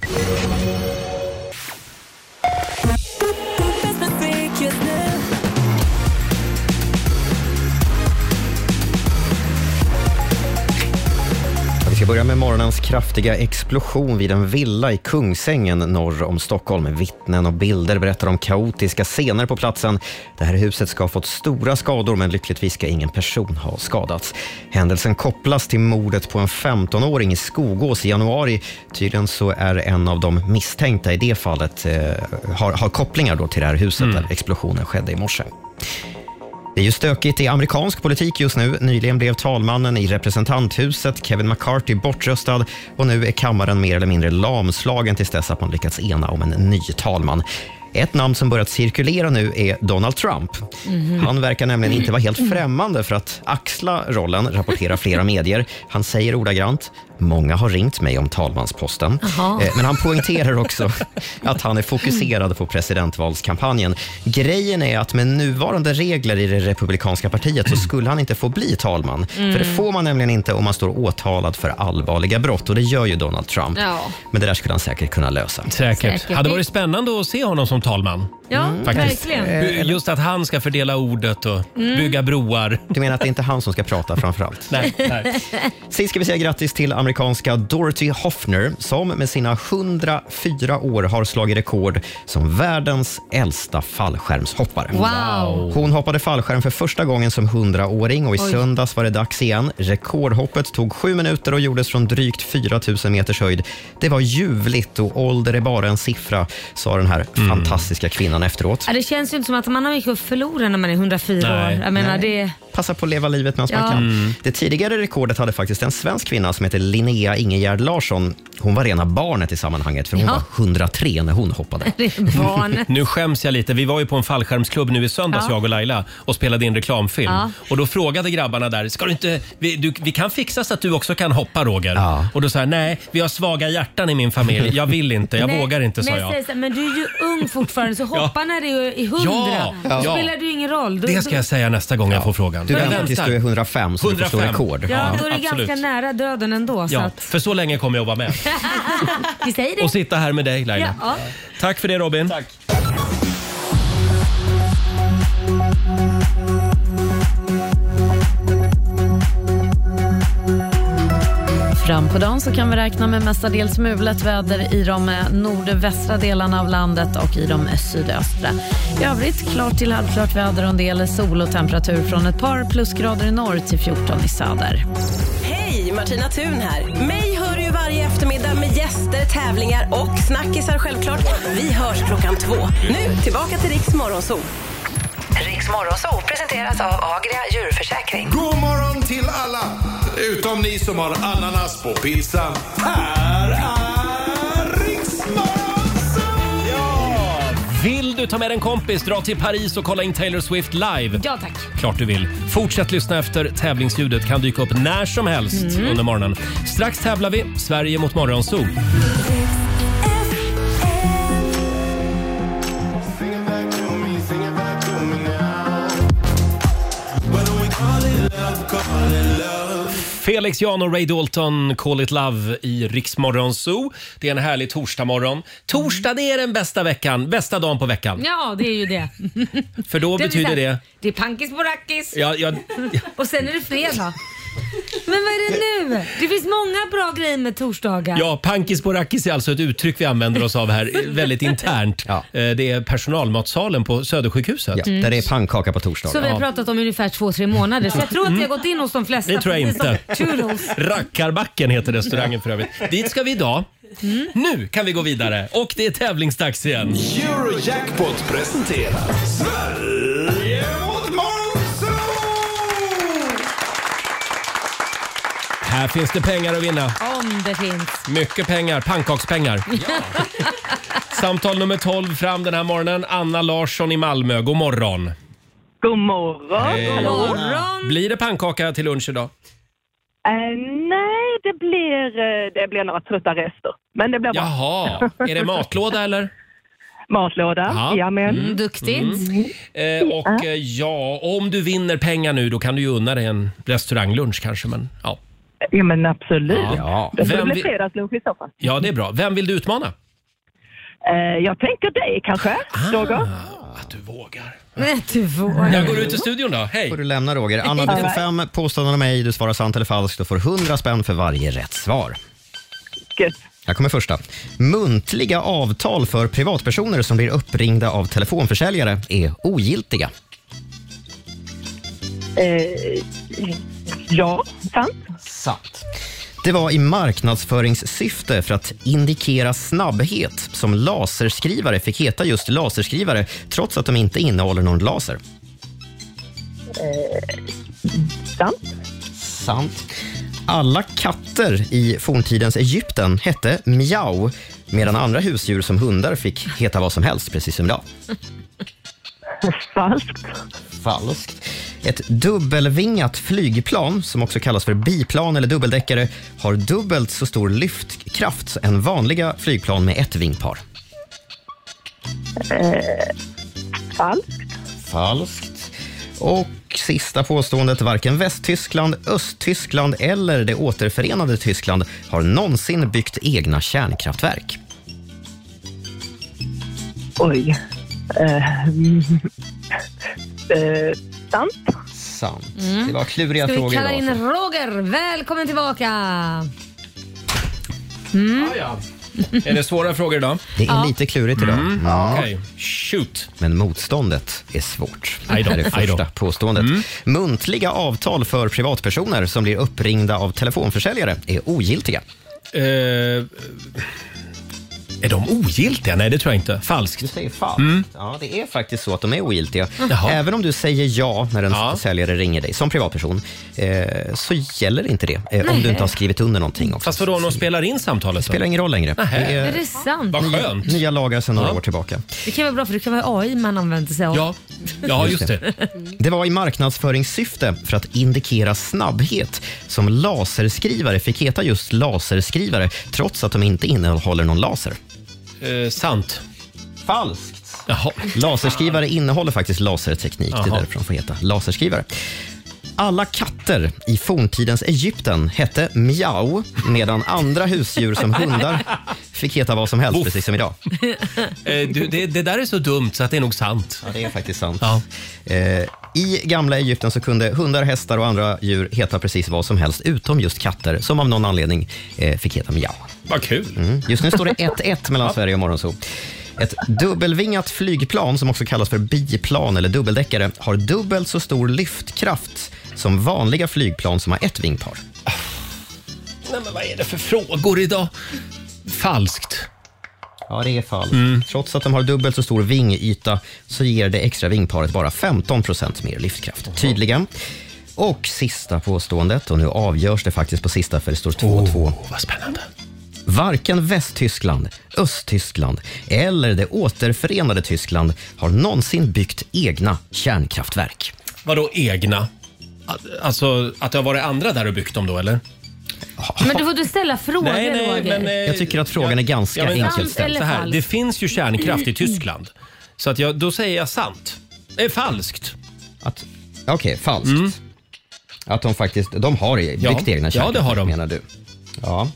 C: Vi ska börja med morgonens kraftiga explosion vid en villa i Kungsängen norr om Stockholm. Vittnen och bilder berättar om kaotiska scener på platsen. Det här huset ska ha fått stora skador men lyckligtvis ska ingen person ha skadats. Händelsen kopplas till mordet på en 15-åring i Skogås i januari. Tydligen så är en av de misstänkta i det fallet eh, har, har kopplingar då till det här huset där explosionen skedde i morse. Det är ju stökigt i amerikansk politik just nu. Nyligen blev talmannen i representanthuset, Kevin McCarthy, bortröstad och nu är kammaren mer eller mindre lamslagen tills dess att man lyckats ena om en ny talman. Ett namn som börjat cirkulera nu är Donald Trump. Han verkar nämligen inte vara helt främmande för att axla rollen, rapporterar flera medier. Han säger ordagrant Många har ringt mig om talmansposten.
Q: Jaha.
C: Eh, Men han poängterar också att han är fokuserad på presidentvalskampanjen. Grejen är att med nuvarande regler i det republikanska partiet så skulle han inte få bli talman.
Q: Mm.
C: För det får man nämligen inte om man står åtalad för allvarliga brott och det gör ju Donald Trump.
D: Ja.
C: Men det där skulle han säkert kunna lösa.
A: Säkert.
D: Säkert.
A: Hade varit spännande att se honom som talman.
D: Ja,
A: Faktiskt.
D: verkligen.
A: Eh, Just att han ska fördela ordet och
D: Mm.
A: bygga broar.
C: Du menar att det är inte han som ska prata framförallt?
A: Nej,
C: Sist ska vi säga grattis till amerikanska Dorothy Hoffner som med sina 104 år har slagit rekord som världens äldsta fallskärmshoppare.
Q: Wow.
C: Hon hoppade fallskärm för första gången som 100-åring och i
Q: Oj.
C: söndags var det dags igen. Rekordhoppet tog sju minuter och gjordes från drygt 4 000 meters höjd. Det var ljuvligt och ålder är bara en siffra, sa den här
A: Mm.
C: fantastiska kvinnan efteråt.
D: Ja, det känns ju inte som att man har mycket att förlora när man är 104 år. Jag menar, det...
C: Passa på att leva livet medan man
D: Ja.
C: kan.
D: Mm.
C: Det tidigare rekordet hade faktiskt en svensk kvinna som heter Linnea Ingegerd Larsson. Hon var rena barnet i sammanhanget för hon
D: Ja.
C: var 103 när hon hoppade.
D: det är barnet.
A: Nu skäms jag lite. Vi var ju på en fallskärmsklubb nu i söndags,
D: Ja.
A: jag och Laila, och spelade in reklamfilm.
D: Ja.
A: Och då frågade grabbarna där, ska du inte, vi, du, vi kan fixa så att du också kan hoppa Roger. Och då sa jag, nej, vi har svaga hjärtan i min familj. Jag vill inte, jag
D: Nej,
A: vågar inte, sa
D: men
A: jag.
D: säger så här, Men du är ju ung fortfarande så hoppa när du är i 100.
A: Ja,
D: Då
A: ja.
D: spelar det ju ingen roll. Då,
A: Det ska jag säga nästa gång jag får frågan.
C: Du
A: Jag
C: väntar tills du är 105 så du får slå
A: 105.
C: rekord.
D: Ja, då är du
A: absolut.
D: ganska nära döden ändå. Så
A: Ja,
D: att,
A: för så länge kommer jag vara med.
D: vi säger det.
A: Och sitta här med dig Laila.
D: ja, ja.
A: Tack för det Robin.
K: Fram på dagen så kan vi räkna med mestadels mulet väder i de eh, nordvästra delarna av landet och i de eh, sydöstra. I övrigt klart till halvklart väder och en del sol och temperatur från ett par plusgrader i norr till 14 i söder.
M: Hej, Martina Thun här. Mig hör du ju varje eftermiddag med gäster, tävlingar och snackisar självklart. Vi hörs klockan två. Nu tillbaka till Riks Morgonzoo.
O: Riks Morgonzoo presenteras av Agria djurförsäkring.
P: God morgon till alla! Utom ni som har ananas på pilsen. Här är
A: Vill du ta med en kompis, dra till Paris och kolla in Taylor Swift live?
D: Ja, tack.
A: Klart du vill. Fortsätt lyssna efter. Tävlingsljudet kan dyka upp när som helst
D: Mm.
A: under morgonen. Strax tävlar vi. Sverige mot Morgonzoo. Felix Jan och Ray Dalton, Call It Love i Riksmorgon Zoo. Det är en härlig torsdagmorgon. Torsdag det är den bästa veckan, bästa dagen på veckan.
D: ja, det är ju det.
A: För då
D: Mm. Det är
A: betyder
D: så här,
A: det...
D: Det är pankis på rackis.
A: Ja, ja,
D: Och sen är det fredag. Men vad är det nu? Det finns många bra grejer med torsdagar.
A: ja, pankis på rackis är alltså ett uttryck vi använder oss av här, eh, väldigt internt. Eh, Det är personalmatsalen på Södersjukhuset.
D: Ja, Mm. där det är
C: pannkaka på
D: Som vi har pratat om i ungefär två, tre månader. Så jag tror att det har gått in hos de flesta.
A: Mm. Det tror jag
D: precis som
A: inte.
D: Toodles.
A: Rackarbacken heter restaurangen för övrigt. Dit ska vi idag. Nu kan vi gå vidare och det är tävlingsdags igen.
P: Eurojackpot presenterar Sverige mot Morgonzoo!
A: Här finns det pengar att vinna.
D: Om det finns.
A: Mycket pengar, pannkakspengar. Samtal nummer 12 fram den här morgonen. Anna Larsson i Malmö, god morgon.
Y: God morgon.
A: Hej. Blir det pannkaka till lunch idag?
Y: Eh, nej, det blir, eh, det blir några trötta rester. Men det blir bra.
A: Jaha, är det matlåda eller?
Y: Matlåda,
A: Ja.
Y: jajamän.
A: Mm, duktigt. Eh, och eh, ja, om du vinner pengar nu då kan du ju unna dig en restauranglunch kanske. Men, ja.
Y: Ja, men absolut.
A: Ja.
Y: Det får
A: Vem
Y: bli
A: vi-
Y: fredagslunch i så fall.
A: ja, det är bra. Vem vill du utmana?
Y: Eh, jag tänker dig kanske, Roger?
A: Ah,
D: Nej, du vågar.
A: Jag går ut i studion då. Hej!
C: får du lämna Roger. Anna, du får fem påståenden av mig. Du svarar sant eller falskt och får 100 spänn för varje rätt svar. Här kommer första. Muntliga avtal för privatpersoner som blir uppringda av telefonförsäljare är ogiltiga.
Y: Eh, ja, sant.
C: Sant. Det var i marknadsföringssyfte för att indikera snabbhet som laserskrivare fick heta just laserskrivare trots att de inte innehåller någon laser.
Y: Eh, sant.
C: Sant. Alla katter i forntidens Egypten hette miau medan andra husdjur som hundar fick heta vad som helst, precis som idag.
Y: Falskt.
C: Falskt. Ett dubbelvingat flygplan, som också kallas för biplan eller dubbeldäckare, har dubbelt så stor lyftkraft än vanliga flygplan med ett vingpar.
Y: Eh, falskt.
C: Falskt. Och sista påståendet. Varken Västtyskland, Östtyskland eller det återförenade Tyskland har någonsin byggt egna kärnkraftverk.
Y: Oj. Eh, eh, sant.
C: Sant.
D: Mm.
C: Det var kluriga
D: Ska vi
C: frågor.
D: kalla
C: idag,
D: in
C: alltså.
D: Roger? Välkommen tillbaka! Mm.
A: Är det svåra frågor idag?
C: Det är
D: Ja.
C: lite klurigt idag.
A: Mm.
C: Ja.
A: Okej. Shoot.
C: Men motståndet är svårt.
A: Aj då,
C: Det är det
A: aj då.
C: första påståendet.
A: Mm.
C: Muntliga avtal för privatpersoner som blir uppringda av telefonförsäljare är ogiltiga.
A: är de ogiltiga? Nej, det tror jag inte. Falskt.
C: Du säger falskt. Ja, det är faktiskt så att de är ogiltiga.
A: Mm. Jaha.
C: Även om du säger ja när en säljare ringer dig som privatperson, eh, så gäller inte det. Eh, om
A: Nej.
C: du inte har skrivit under någonting också.
A: Fast vadå, om de spelar in samtalet?
C: Det spelar ingen roll längre.
A: Nähä.
C: Det
D: Är det sant? Mm.
A: Vad
C: nya,
A: skönt.
C: nya lagar sedan några år tillbaka.
D: Det kan vara bra för det kan vara AI man använder sig av.
A: Ja,
C: Det var i marknadsföringssyfte för att indikera snabbhet som laserskrivare fick heta just laserskrivare trots att de inte innehåller någon laser.
A: Eh, sant.
C: Falskt. Laserskrivare innehåller faktiskt laserteknik. Det är
A: Jaha.
C: därför de får heta laserskrivare. Alla katter i forntidens Egypten hette miau medan andra husdjur som hundar fick heta vad som helst, precis som idag.
A: Eh, du, det, det där är så dumt så att det är nog sant.
C: Ja, det är faktiskt sant. Eh, I gamla Egypten så kunde hundar, hästar och andra djur heta precis vad som helst utom just katter som av någon anledning eh, fick heta miau.
A: Vad kul.
C: Mm. Just nu står det 1-1 mellan Sverige och Morgonzoo. Ett dubbelvingat flygplan, som också kallas för biplan eller dubbeldäckare, har dubbelt så stor lyftkraft som vanliga flygplan som har ett vingpar.
A: Nej, men vad är det för frågor idag? Falskt. Mm.
C: Ja, det är falskt. Trots att de har dubbelt så stor vingyta så ger det extra vingparet bara 15 mer lyftkraft. Tydligen. Och sista påståendet, och nu avgörs det faktiskt på sista för det står 2-2.
A: vad spännande.
C: Varken Västtyskland, Östtyskland eller det återförenade Tyskland har någonsin byggt egna kärnkraftverk.
A: Vadå egna? Att- Alltså att det har varit andra där och byggt dem då eller?
D: Men då får du ställa frågor
A: Nej, nej,
D: Roger.
A: men, eh,
C: Jag tycker att frågan är ganska
A: Ja, men-
C: enkelt ställd.
A: Så här, det finns ju kärnkraft i Tyskland. Så att jag, då säger jag sant. Det är falskt.
C: Att, Okej, falskt. Att de faktiskt de har byggt
A: Mm. Ja.
C: egna
A: Ja,
C: kärnkraftverk
A: det har de.
C: menar du? Ja.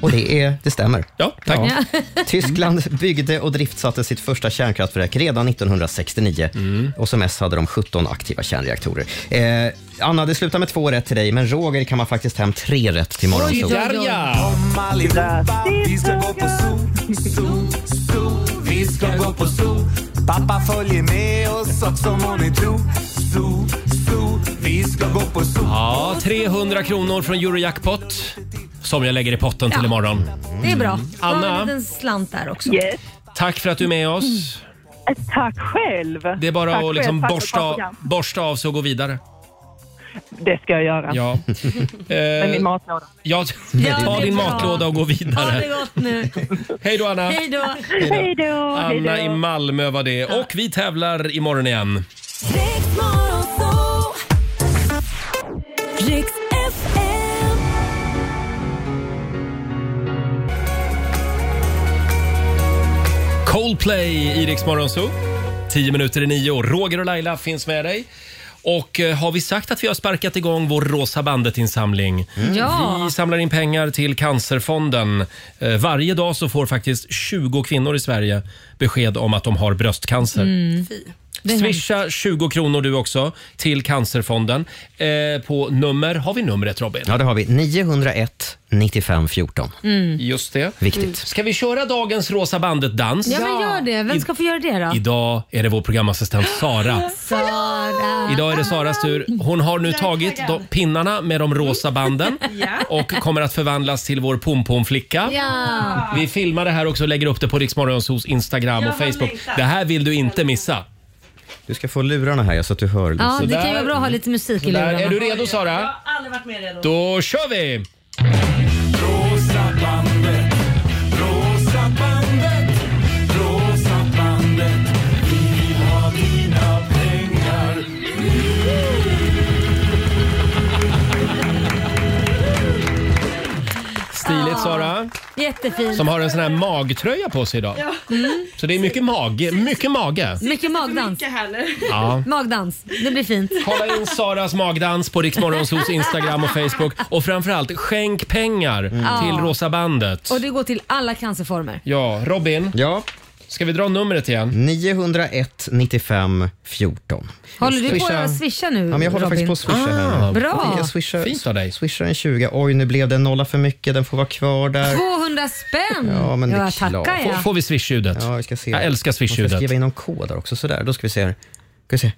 C: Och det, är, det stämmer.
A: Ja, tack.
C: Tyskland byggde och driftsatte sitt första kärnkraftverk redan 1969
A: Mm.
C: och som mest hade de 17 aktiva kärnreaktorer. Eh, Anna, det slutar med två rätt till dig, men Roger kan man faktiskt hem tre rätt till morgon.
F: Kom allihopa, vi ska gå på zoo, zoo, zoo. Vi ska gå på zoo. Pappa följer med oss också må ni tro. Zoo, zoo, vi ska gå på zoo.
A: Ja, 300 kronor från Eurojackpot som jag lägger i potten till
D: Ja.
A: imorgon.
D: Det är bra. Ta en
A: Anna,
D: liten slant där också.
Y: Yes.
A: tack för att du är med oss.
Y: Eh, Tack själv.
A: Det är bara
Y: Mm. Tack
A: att liksom
Y: själv, tack för ett bra
A: borsta,
Y: program.
A: borsta av sig och gå vidare.
Y: Det ska jag göra.
A: Ja.
Y: Med min
A: Eh,
Y: matlåda.
A: ja,
Y: Ja, det
A: ta
Y: är
A: din
Y: bra.
A: matlåda och gå vidare.
D: gott nu.
A: Hej då Anna.
D: Hej då.
Y: Hej då.
A: Anna i Malmö var det. Och vi tävlar imorgon igen.
F: Riks FM.
A: Coldplay i Rix Morgon Zoo. 10 minuter i nio. Roger och Laila finns med dig. Och eh, har vi sagt att vi har sparkat igång vår Rosa bandet-insamling?
D: Mm. Ja.
A: Vi samlar in pengar till Cancerfonden. Eh, Varje dag så får faktiskt 20 kvinnor i Sverige besked om att de har bröstcancer.
D: Mm. Det är
A: Swisha 20 kronor du också till Cancerfonden eh, på nummer... Har vi numret Robin?
C: Ja, det har vi. 901 95 14.
D: Mm.
A: Just det.
C: Viktigt.
A: Ska vi köra dagens Rosa bandet-dans?
D: Ja men gör det. Vem ska få göra det då?
A: Idag är det vår programassistent Sara.
D: Sara.
A: Idag är det Saras tur. Hon har nu tagit de, pinnarna med de rosa banden och kommer att förvandlas till vår pompomflicka.
D: Ja.
A: Vi filmar det här också och lägger upp det på Riksmorgonsos Instagram
D: Jag
A: och
D: har
A: Facebook.
D: längtat.
A: Det här vill du inte missa.
C: Du ska få lurarna här så att du hör.
D: Ja, det kan ju
A: Sådär.
D: vara bra att ha lite musik i
A: Sådär.
D: lurarna.
A: Är du redo, Sara? Jag har
D: aldrig varit mer redo.
A: Då kör vi!
F: Rosa bandet, rosa bandet, rosa bandet. Vi vill ha dina pengar.
D: Jättefin.
A: Som har en sån här magtröja på sig idag.
D: Ja. Mm.
A: Så det är mycket mage. Mycket mage.
D: Mycket magdans.
A: Ja.
D: Magdans, det blir fint.
A: Kolla in Saras magdans på Riksmorgonsos Instagram och Facebook. Och framförallt, skänk pengar till
D: Mm. Ja.
A: Rosa bandet.
D: Och det går till alla cancerformer.
A: Ja, Robin.
C: Ja.
A: Ska vi dra numret igen?
C: 901 95 14.
D: Håller du på
C: Swisha.
D: att swisha nu
C: Ja, men jag håller
D: Robin? Ah,
C: faktiskt på att swisha här.
D: Bra.
C: Jag swishar, Ah, Fint av dig. swishar en 20. Oj, nu blev det en nolla för mycket. Den får vara kvar där.
D: 200 spänn!
C: Ja, men det är
D: tackar
C: klart.
D: jag.
A: vi swish-ljudet?
C: Ja, vi ska se.
A: Jag älskar
C: Man
A: swish-ljudet.
C: ska skriva in någon kod där också. Sådär, då ska vi se här. Ska vi se.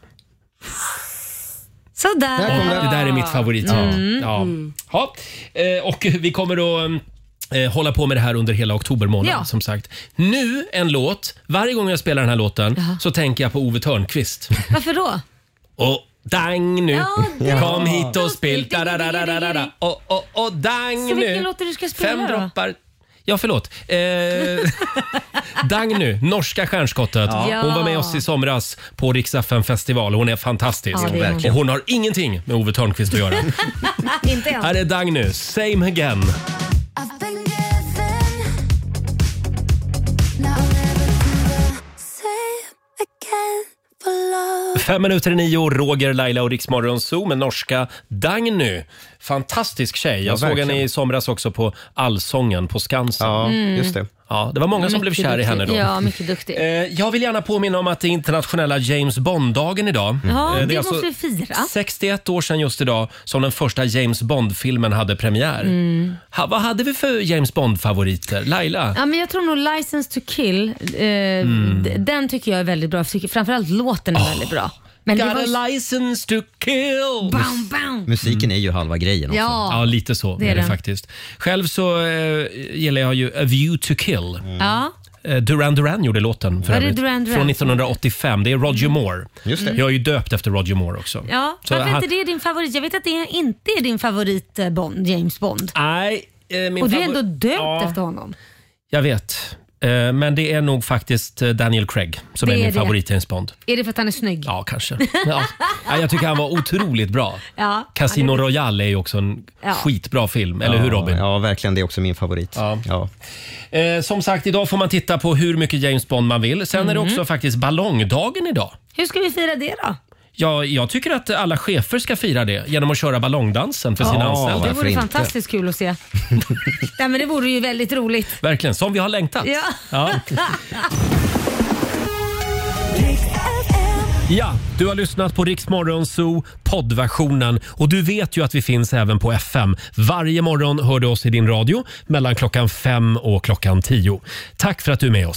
D: Sådär.
A: Där kom det. det där är mitt favoritljud.
D: Mm.
A: Ja. Ja. Eh, Och vi kommer att eh, hålla på med det här under hela oktober månad.
D: Ja.
A: Som sagt. Nu en låt. Varje gång jag spelar den här låten så tänker jag på Ove Thörnqvist.
D: Varför då?
A: Och dang nu,
D: Ja, det-
A: kom hit och spill. Da, da, da, da, da, da, da. Och, och, och dang
D: Så vilken
A: nu.
D: låt är det du ska spela
A: Fem
D: då?
A: droppar. Ja, förlåt. Eh, dang nu, norska stjärnskottet.
D: Ja.
A: Hon var med oss i somras på Rix FM festival. Hon är fantastisk.
D: Ja, det är hon.
A: och hon har ingenting med Ove Thörnqvist att göra.
D: Inte än.
A: Här är dang nu, same again. Fem minuter i nio, Roger, Laila och Riksmorgon Zoo med norska Dagny. Fantastisk tjej. Jag
C: Ja,
A: såg
C: verkligen.
A: henne i somras också på Allsången på Skansen.
C: Ja, Mm. just det.
A: Ja, det var många som blev
D: Mycket
A: kär i
D: duktig.
A: henne då.
D: Ja, mycket duktig.
A: Eh, Jag vill gärna påminna om att det är internationella James Bond-dagen idag.
C: Mm.
A: Eh,
D: Ja, det,
A: är
D: måste vi fira.
A: 61 år sedan just idag som den första James Bond-filmen hade premiär.
D: Mm.
A: Ha, vad hade vi för James Bond-favoriter? Laila?
D: Ja, men jag tror nog License to kill, eh,
A: Mm.
D: d- den tycker jag är väldigt bra. Jag tycker Framförallt låten
A: Ah.
D: är väldigt bra. Men det
A: Got
D: var ju-
A: a license to kill!
D: Bam, bam.
C: Musiken är ju halva grejen också.
D: Ja.
A: Ja, lite så
D: Det är
A: är det
D: den.
A: faktiskt. Själv så eh, gillar jag ju A View to Kill.
D: Ja.
A: Eh, Duran Duran gjorde låten för
D: Mm. Var det
A: övrigt.
D: Duran Duran?
A: Från 1985. Det är Roger Moore.
D: Just det.
A: Jag är ju döpt efter Roger Moore också.
D: Ja,
A: Så
D: varför
A: han-
D: inte det är din favorit? Jag vet att det inte är din favorit eh, Bond, James Bond.
A: Nej, eh, min
D: Och du är
A: favor-
D: ändå döpt
A: Ja.
D: efter honom.
A: Jag vet. Eh, Men det är nog faktiskt eh, Daniel Craig som
D: Det
A: är min
D: är det.
A: favorit i James Bond.
D: Är det för att han är snygg?
A: Ja, kanske. Ja. Ja, jag tycker han var otroligt bra.
D: Ja.
A: Casino Royale är ju också en
D: Ja.
A: skitbra film, eller hur Robin?
C: Ja, verkligen. Det är också min favorit. Ja.
A: Eh, som sagt, idag får man titta på hur mycket James Bond man vill. Sen är det
D: Mhm.
A: också faktiskt ballongdagen idag.
D: Hur ska vi fira det då?
A: Ja, jag tycker att alla chefer ska fira det genom att köra ballongdansen för sina
D: Ja,
A: anställda.
D: Det vore fantastiskt kul att se. Nej, men det vore ju väldigt roligt.
A: Verkligen, som vi har längtat.
D: Ja.
A: Ja, du har lyssnat på Rix Morgon Zoo poddversionen och du vet ju att vi finns även på FM. Varje morgon hör du oss i din radio mellan klockan fem och klockan tio. Tack för att du är med oss.